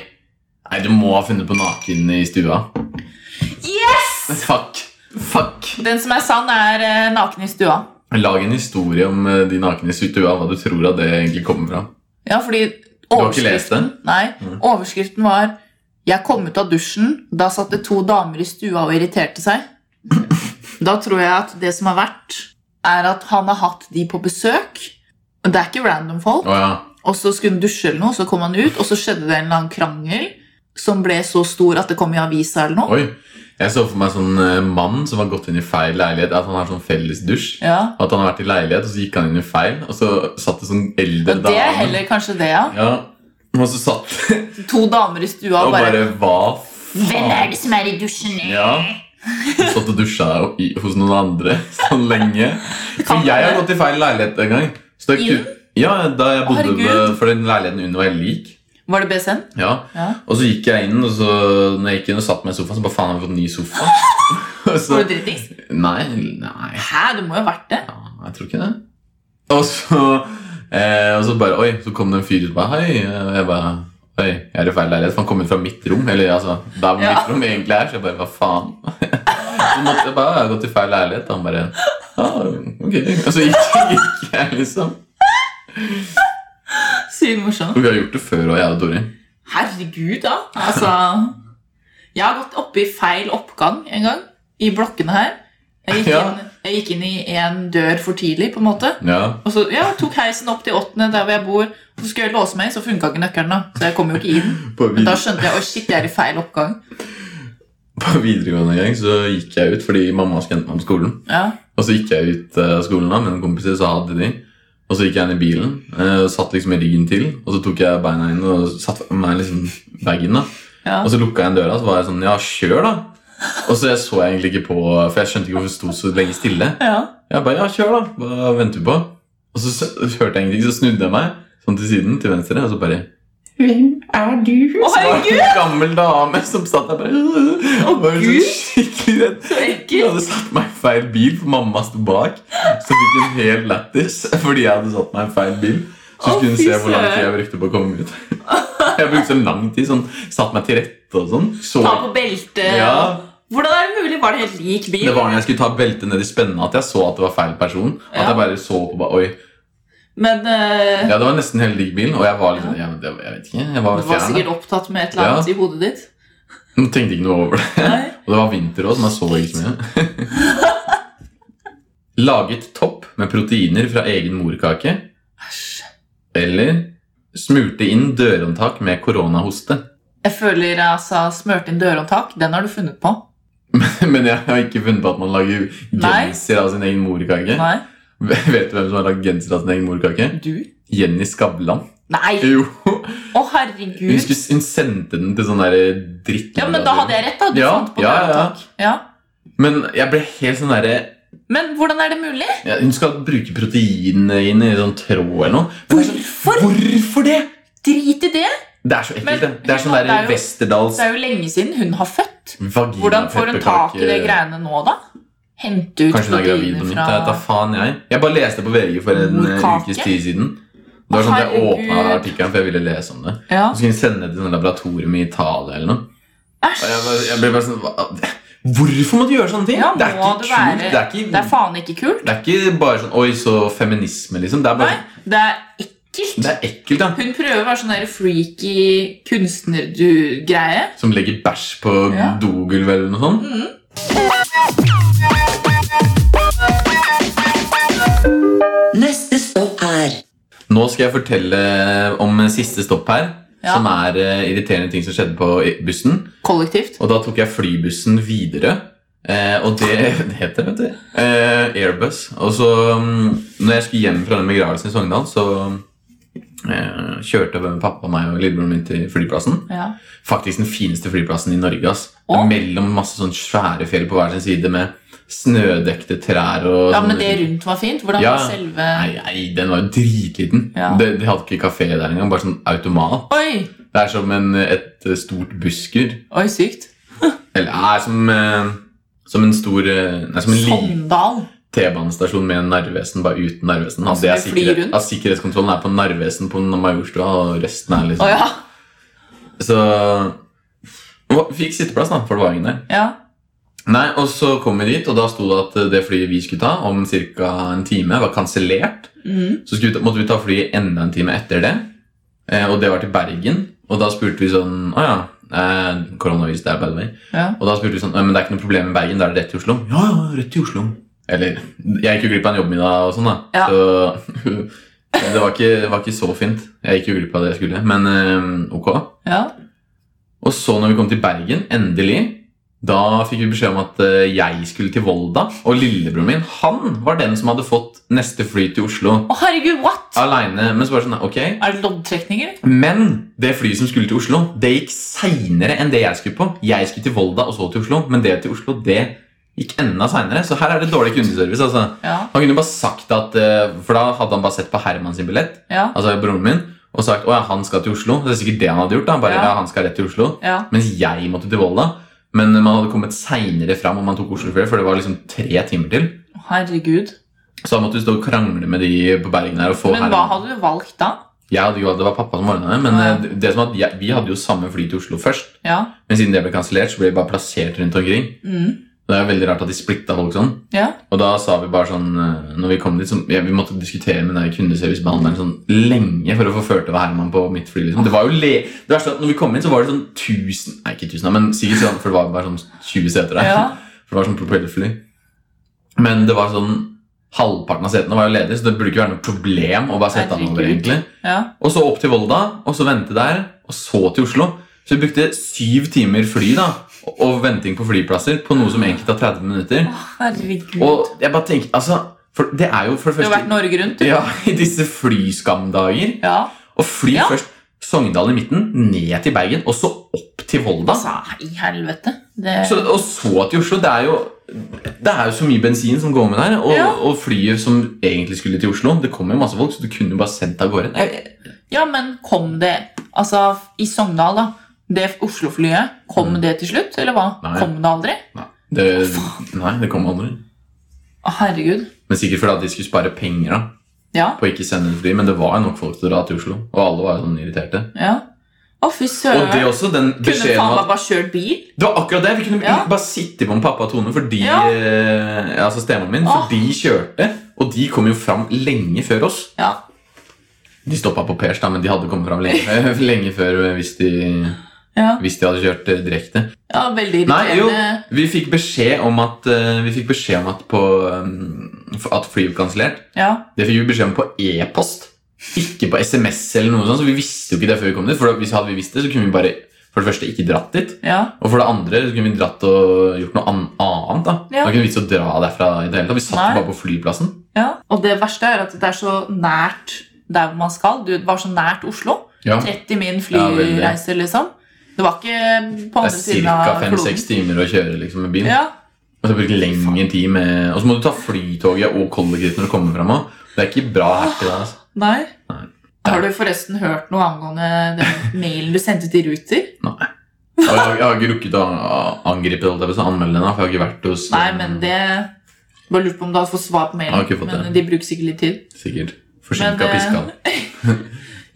Nei, du må ha funnet på naken i stua.
Yes!
Fuck. Fuck.
Den som er sann, er eh, naken i stua.
Lag en historie om eh, de nakne i stua, hva du tror at det egentlig kommer fra.
Ja, fordi
Du har ikke lest den?
Nei,
Mm.
overskriften var Jeg kom ut av dusjen, da satt det to damer i stua og irriterte seg. Da tror jeg at det som har vært, er at han har hatt de på besøk. Men Det er ikke random folk.
Å ja.
Og så skulle han dusje eller noe, så kom han ut, og så skjedde det en eller annen krangel som ble så stor at det kom i avisa eller noe.
Oi. Jeg så for meg sånn eh, mann som har gått inn i feil leilighet. At han har sånn felles dusj.
Ja,
At han har vært i leilighet, og så gikk han inn i feil, og så satt det sånn eldre
men Det er heller kanskje det, ja.
Ja, og så satt
To damer i stua
og
og bare
bare hva
Hvem er
faen?
det som er i dusjen?
Ja. Og Satt og dusja i, hos noen andre sånn lenge.
Kan
For jeg har
det.
gått i feil leilighet en gang. Så det, er
I
ku- ja, da jeg bodde
Herregud.
med, For den leiligheten under var helt lik.
Var det BSN?
Ja.
Ja.
Og så gikk jeg inn, og så når jeg gikk inn og satt meg i sofaen, så bare faen, har vi fått ny sofa? Og så,
Var du dritings?
nei, nei.
Hæ, det må jo ha vært det.
Ja, jeg tror ikke det. Og så, eh, og så bare, oi, så kom det en fyr ut og bare, hei, og jeg bare, oi, jeg er i feil leilighet, for han kom ut fra mitt rom, eller altså, der hvor
Ja.
mitt rom egentlig er, så jeg bare, hva faen? Så måtte jeg bare, jeg har gått i feil leilighet, og han bare, ja, ok, og så gikk, gikk jeg liksom.
Sykt morsomt.
Og vi har gjort det før, og jeg og Dori.
Herregud, da. Altså Jeg har gått oppe i feil oppgang en gang. I blokkene her. Jeg gikk,
Ja.
inn, jeg gikk inn i en dør for tidlig, på en måte.
Ja,
Og så ja, tok heisen opp til åttende, der hvor jeg bor. Og så skulle jeg låse meg, så funka ikke nøkkelen. da Så jeg kom jo ikke inn.
på,
Men da
vid
skjønte jeg oi shit, jeg er i feil oppgang.
på videregående gang så gikk jeg ut, fordi mamma skulle hente meg på skolen.
Ja,
Og så gikk jeg ut av skolen da, med noen kompiser, så hadde de. Og så gikk jeg inn i bilen, eh, og satt liksom i ryggen til, og så tok jeg beina inn og satt meg liksom bagen da.
ja.
Og så lukka jeg igjen døra, så var jeg sånn, ja, kjør da. Og så jeg så egentlig ikke på, for jeg skjønte ikke hvorfor det sto så lenge stille.
ja.
Jeg bare, ja, kjør da, hva venter du på? Og så s- hørte jeg ingenting, så snudde jeg meg, sånn til siden, til venstre, og så bare,
Å,
så var
herregud,
det en gammel dame som satt der bare, og var
Gud.
så skikkelig redd.
så
Jeg
ekkelt!
hadde satt meg i feil bil, for mamma sto bak. Så fikk hun helt lættis fordi jeg hadde satt meg i feil bil. Så
Å,
skulle hun
fy
se hvor lang tid jeg
søren.
brukte på å komme ut. Jeg brukte så lang tid, sånn, satt meg til rette og sånn. Så,
Ta på belte.
Ja.
Hvordan er det mulig? Var det helt lik bil?
det var når jeg skulle ta beltet ned i spenna at jeg så at det var feil person. At
Ja.
jeg bare så på ba- Oi.
Men eh,
Ja, det var nesten helt lik bilen, og jeg var liksom, jeg, jeg vet ikke, jeg var
Du var
fjern.
sikkert opptatt med et eller annet i hodet ditt.
Jeg tenkte ikke noe over det.
Nei.
Og det var vinter òg, så man så ikke så mye. Laget topp med proteiner fra egen morkake. Eller smurte inn dørhåndtak med koronahoste.
Jeg føler altså smørt inn dørhåndtak. Den har du funnet på.
Men jeg har ikke funnet på at man lager
Nei.
genser av sin egen morkake.
Nei.
Vet du hvem som har lagd genser av sin egen morkake?
Du?
Jenny Skavlan.
Nei! Å,
Jo, hun,
herregud.
skulle, hun sendte den til sånn der dritt...
Ja, Men da hadde jeg rett, da. Du
Ja,
fant på
ja,
dørhåndtak. Ja.
Men jeg ble helt sånn derre
Men hvordan er det mulig?
ja, Hun skal bruke proteinene inn i sånn tråd eller noe. Men det er sånn,
Hvorfor?
hvorfor det?!
Drit i det!
Det er så ekkelt.
Men-
det. det er sånn
det
der
er jo-
Westerdals
Det er jo lenge siden hun har født.
vagina
Hvordan får hun tak i de
pepperkake-
greiene nå, da? Hente ut
eh, Kanskje hun er gravid på nytt? Jeg vet da faen jeg. Jeg bare leste på VG for en eh,
Morkake?
ukes tid siden. Det var sånn at Jeg
Herregud.
åpna artikkelen, for jeg ville lese om det.
Ja.
Så skulle hun sende det til sånn laboratorium i Italia eller noe. Og jeg, bare,
Æsj!
jeg ble bare sånn hva- Hvorfor må du gjøre sånne ting?
Ja,
det er
må
ikke
det
kult.
være-
Det er ikke,
Det er faen ikke kult.
det er ikke bare sånn Oi, så feminisme, liksom. Det er
Nei,
bare sånn-
det er ekkelt.
Det er ekkelt, da.
Hun prøver å være sånn der freaky kunstnergreie.
Som legger bæsj på
Ja.
dogulvet eller noe sånt.
Neste stopp er
Nå skal jeg fortelle om siste stopp her,
Ja.
som er eh, irriterende ting som skjedde på i- bussen.
Kollektivt.
Og da tok jeg flybussen videre. Eh, og det, det heter vet du, eh, Airbus. Og så mm, når jeg skulle hjem fra den begravelsen i Sogndal, så eh, kjørte jeg med pappa, meg og lillebroren min til flyplassen.
Ja.
Faktisk den fineste flyplassen i Norge. ass. Det
Å?
er Mellom masse sånn svære fjell på hver sin side med snødekte trær og
ja, men
sånn-
det rundt var fint. Hvordan
Ja.
var selve
Nei, nei, den var jo dritliten.
Ja.
Det- De, hadde ikke kafé der engang. Bare sånn automat.
Oi!
Det er som en, et stort busskur.
Oi, sykt.
Eller nei, som, eh, som en stor eh, Nei, som en liten
Sogndal.
T-banestasjon med Narvesen, bare uten Narvesen. Altså,
Altså,
det er
det flyr
sikkerhet,
rundt?
altså, sikkerhetskontrollen er på Narvesen på Majorstua, og resten er
Å
liksom
ja.
Så og Fikk sitteplass, da, for det var ingen der.
ja.
Nei, Og så kom vi dit, og da sto det at eh, det flyet vi skulle ta om ca. en time, var kansellert.
Mm.
Så skulle vi ta, måtte vi ta flyet enda en time etter det, eh, og det var til Bergen. Og da spurte vi sånn Å ja. Eh, koronavirus der, by the way.
ja.
Og da spurte vi sånn, «Nei, men det er ikke noe problem med Bergen, da er det rett til Oslo. Ja, ja, rett til Oslo. Eller, jeg gikk jo glipp av en jobbmiddag og sånn da.
Ja.
Så det var, ikke, det var ikke så fint. Jeg gikk jo glipp av det jeg skulle, men eh, ok.
Ja.
Og så når vi kom til Bergen, endelig, da fikk vi beskjed om at eh, jeg skulle til Volda, og lillebroren min, han var den som hadde fått neste fly til Oslo.
Å, herregud, what?!
Alene, men så var det sånn, ok.
Er det loddtrekninger?
Men det flyet som skulle til Oslo, det gikk seinere enn det jeg skulle på. Jeg skulle til Volda og så til Oslo, men det til Oslo det gikk enda seinere. Så her er det dårlig kundeservice. altså.
Ja.
Han kunne bare sagt at, eh, For da hadde han bare sett på Herman sin billett,
Ja.
altså broren min, og sagt å ja, han skal til Oslo. Det er sikkert det han hadde gjort. da, bare
Ja.
ja. han skal rett til Oslo.
Ja.
Mens jeg måtte til Volda. Men man hadde kommet seinere fram om man tok Oslo før, for det var liksom tre timer til.
Herregud.
Så da måtte du stå og krangle med de på Bergen her og få
Men hva
Herman.
hadde du valgt da?
Jeg hadde jo, det var pappa som ordna det, men
Ja.
eh, det- det som at jeg, vi hadde jo samme fly til Oslo først.
Ja.
Men siden det ble kansellert, så ble vi bare plassert rundt omkring.
Mm.
Det er veldig rart at de splitta folk sånn.
Ja.
Og da sa vi bare sånn eh, Når vi kom dit, så ja, vi måtte diskutere med den der kundeservicebehandleren sånn lenge for å få ført over Herman på mitt fly. liksom. Det var jo le... Det verste er at når vi kom inn, så var det sånn 1000 Nei, ikke 1000, men sikkert sånn, for det var bare sånn 20 seter der.
Ja.
For det var sånn propellerfly. Men det var sånn Halvparten av setene var jo ledige, så det burde ikke være noe problem å bare sette han over.
Herregud.
egentlig.
Ja.
Og så opp til Volda, og så vente der, og så til Oslo. Så vi brukte syv timer fly da, og venting på flyplasser på noe som egentlig tar 30 minutter.
Å, herregud.
Og jeg bare tenker, altså, for det er jo for det
du har vært
første
Norge rundt, du.
ja, i disse flyskamdager.
Ja.
Og fly
Ja.
først Sogndal i midten, ned til Bergen, og så opp til Volda.
Altså, i helvete. Det...
Så, og så til Oslo. Det er, jo, det er jo så mye bensin som går med der. Og,
Ja.
og flyet som egentlig skulle til Oslo, det kommer jo masse folk, så du kunne jo bare sendt av gårde. Nei,
Ja, men kom det Altså, i Sogndal, da. Det Oslo-flyet, kom
Mm.
det til slutt, eller hva?
Nei.
Kom det aldri?
det, nei, det kom aldri.
Å, herregud.
Men sikkert fordi at de skulle spare penger da,
Ja,
på å ikke sende ut fly. Men det var jo nok folk til å dra til Oslo. Og alle var jo sånn irriterte.
ja. Å, fy
Og det er
søren.
også den
Kunne
beskjeden
faen
om
meg
at
bare kjørt bil.
Det var akkurat det! Vi kunne
Ja.
bare sitte på med pappa og Tone fordi
Ja.
eh, Altså stemoren min. For
Åh.
de kjørte, og de kom jo fram lenge før oss.
Ja.
De stoppa på Pers, da, men de hadde kommet fram lenge, før- lenge før eh, hvis de,
Ja.
hvis de hadde kjørt eh, direkte.
ja, veldig
Nei, jo.
irriterende.
Vi fikk beskjed om at eh, Vi fikk beskjed om at på eh, At flyet ble kansellert.
Ja.
Det fikk vi beskjed om på e-post, ikke på SMS eller noe sånt. Så vi visste jo ikke det før vi kom dit. For da- hvis hadde vi visst det, så kunne vi bare for det første ikke dratt dit.
Ja.
Og for det andre så kunne vi dratt og gjort noe an annet. Da
Ja.
Da kunne vi ikke dra derfra i det hele tatt. Vi satt
Nei.
bare på flyplassen.
ja. Og det verste er at det er så nært der hvor man skal. Du det var så nært Oslo.
Ja.
30
Ja,
min
veldig.
flyreise, liksom. Det var ikke på
Det
andre
er
siden
ca.
av kloden.
5-6 timer å kjøre liksom, med bil.
Ja,
Og så bruke lengre tid med Og så må du ta flytoget og kollektivt når du kommer fram. også. Det er ikke bra her til deg. Altså.
nei.
Nei.
Har du forresten hørt noe angående den mailen du sendte til Ruter?
Nei. Og jeg, har- jeg har ikke rukket å angripe holdt jeg på å si, anmelde henne, for jeg har ikke vært hos
Nei,
eh,
men det Bare lurt på om du hadde fått svar på mailen.
Jeg har ikke fått
men
det.
de bruker sikkert litt tid.
Sikkert forsinka
Men, eh,
piska.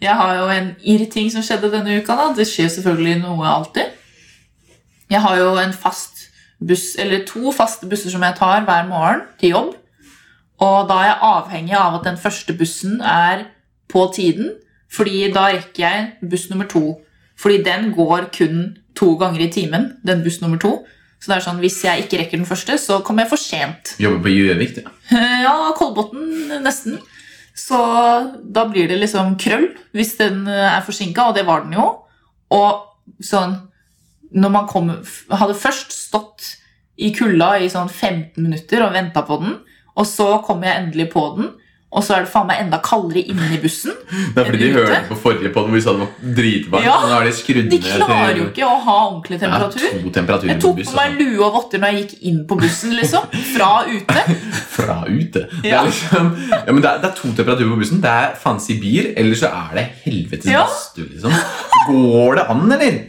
Jeg har jo en irrting som skjedde denne uka. da. Det skjer jo selvfølgelig noe alltid. Jeg har jo en fast buss, eller to faste busser som jeg tar hver morgen til jobb. Og da er jeg avhengig av at den første bussen er på tiden, fordi da rekker jeg buss nummer to. Fordi den går kun to ganger i timen, den buss nummer to. Så det er sånn, hvis jeg ikke rekker den første, så kommer jeg for sent.
Jobber på Gjøvik, det.
Eh, Ja, Kolbotn nesten. Så da blir det liksom krøll hvis den eh, er forsinka, og det var den jo. Og sånn Når man kom, f- hadde først stått i kulda i sånn 15 minutter og venta på den, og så kom jeg endelig på den, og så er det faen meg enda kaldere inne i bussen.
Det er fordi de
Ute?
hørte på forrige podd hvor vi sa det var dritvarmt.
Ja,
og nå har de skrudd
De
ned
klarer jo ikke å ha ordentlig
Ja,
temperatur.
to temperaturer
Jeg
på
tok
buss,
på meg
altså.
lue og votter når jeg gikk inn på bussen, liksom. Fra ute.
Fra ute. Det
Ja.
er liksom Ja, men det er, det er to temperaturer på bussen. Det er faen Sibir, eller så er det helvetes
Ja.
badstue, liksom. Går det an, eller?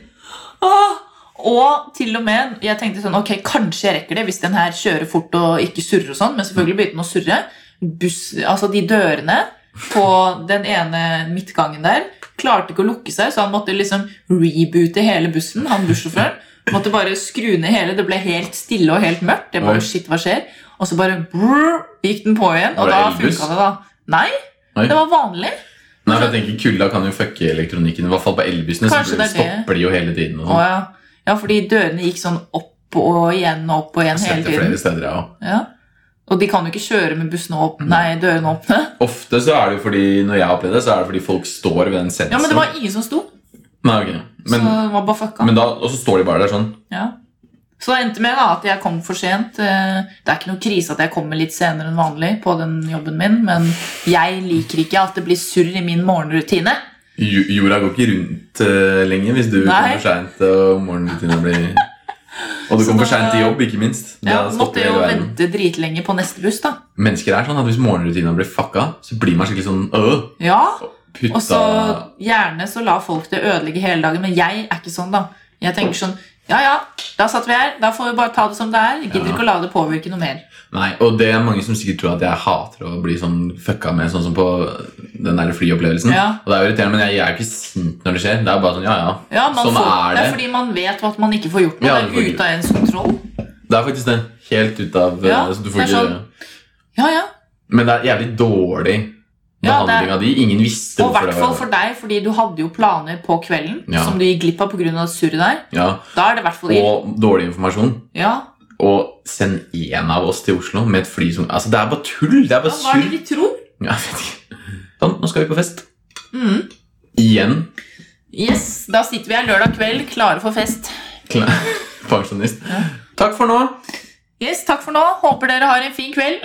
Åh! Og til og med, jeg tenkte sånn, ok, kanskje jeg rekker det hvis den her kjører fort og ikke surrer og sånn, men selvfølgelig begynte den å surre. Buss, altså de dørene på den ene midtgangen der klarte ikke å lukke seg, så han måtte liksom reboote hele bussen, han bussjåføren. Måtte bare skru ned hele, det ble helt stille og helt mørkt. Jeg
Oi.
bare, shit, hva skjer? Og så bare brrr, gikk den på igjen,
Var
og
det
da
elbuss?
funket det da. Nei,
Oi.
det var vanlig.
Nei, for jeg tenker Kulda kan jo fucke elektronikken. I hvert fall på elbussene. Så
Kanskje det er det.
stopper de jo hele tiden. Og
Å,
sånn.
ja. ja, fordi dørene gikk sånn opp og igjen og opp og igjen hele
Sett det
tiden.
flere steder, jeg også.
Ja. Og de kan jo ikke kjøre med bussene åpne, nei, dørene åpne.
Ofte så er det jo fordi Når jeg har opplevd det, så er det fordi folk står ved den sensen.
Ja, Men det var ingen som sto,
Nei, ok.
så
men,
det var bare fucka.
men da, Og så står de bare der sånn.
ja. Så det endte med da, at jeg kom for sent. Eh, Det er ikke noe krise at jeg kommer litt senere enn vanlig, på den jobben min, men jeg liker ikke at det blir surr i min morgenrutine.
Jo- Jorda går ikke rundt eh, lenger hvis du kommer
Nei.
for seint og morgenrutinene blir Og du
Så
kommer for
da-
seint til jobb, ikke minst. Da
Ja, måtte
stopper
jo
hele verden.
vente dritlenge på neste buss, da.
Mennesker er sånn at hvis morgenrutinene blir fucka, så blir man skikkelig sånn øh,
Ja,
putta
Og så gjerne så lar folk det ødelegge hele dagen, men jeg er ikke sånn, da. Jeg tenker sånn Ja, ja, da satt vi her. Da får vi bare ta det som det er. Jeg gidder
Ja.
ikke å la det påvirke noe mer.
Nei, og det er mange som sikkert tror at jeg hater å bli sånn fucka med, sånn som på den der flyopplevelsen.
Ja.
Og det er jo irriterende, men jeg, jeg er jo ikke sint når det skjer. Det er bare sånn, ja, ja.
Ja, man
sånn
får,
er
det
det.
er fordi man vet at man ikke får gjort noe.
Ja, du
det
får
er
ikke-
ute av ens kontroll.
Det er faktisk det. Helt ut av
Ja,
eh, så du
det
får
er
ikke...
sånn- Ja, ja.
Men det er jævlig dårlig
Ja, det er-
behandling av de. Ingen visste
Og i hvert
det sånn.
fall for deg, fordi du hadde jo planer på kvelden
Ja.
som du gikk glipp av pga. surret der.
Ja,
Da er det i hvert fall ill.
og dårlig informasjon.
Ja.
Og send én av oss til Oslo med et fly som Altså, det er bare tull! Det er
ja,
bare
hva er
surr.
det de tror?
Ja, jeg vet ikke. Sånn, nå skal vi på fest.
Mm.
Igjen.
Yes, da sitter vi her lørdag kveld klare for fest.
Kla- Pensjonist. Takk for nå.
Yes, takk for nå. Håper dere har en fin kveld.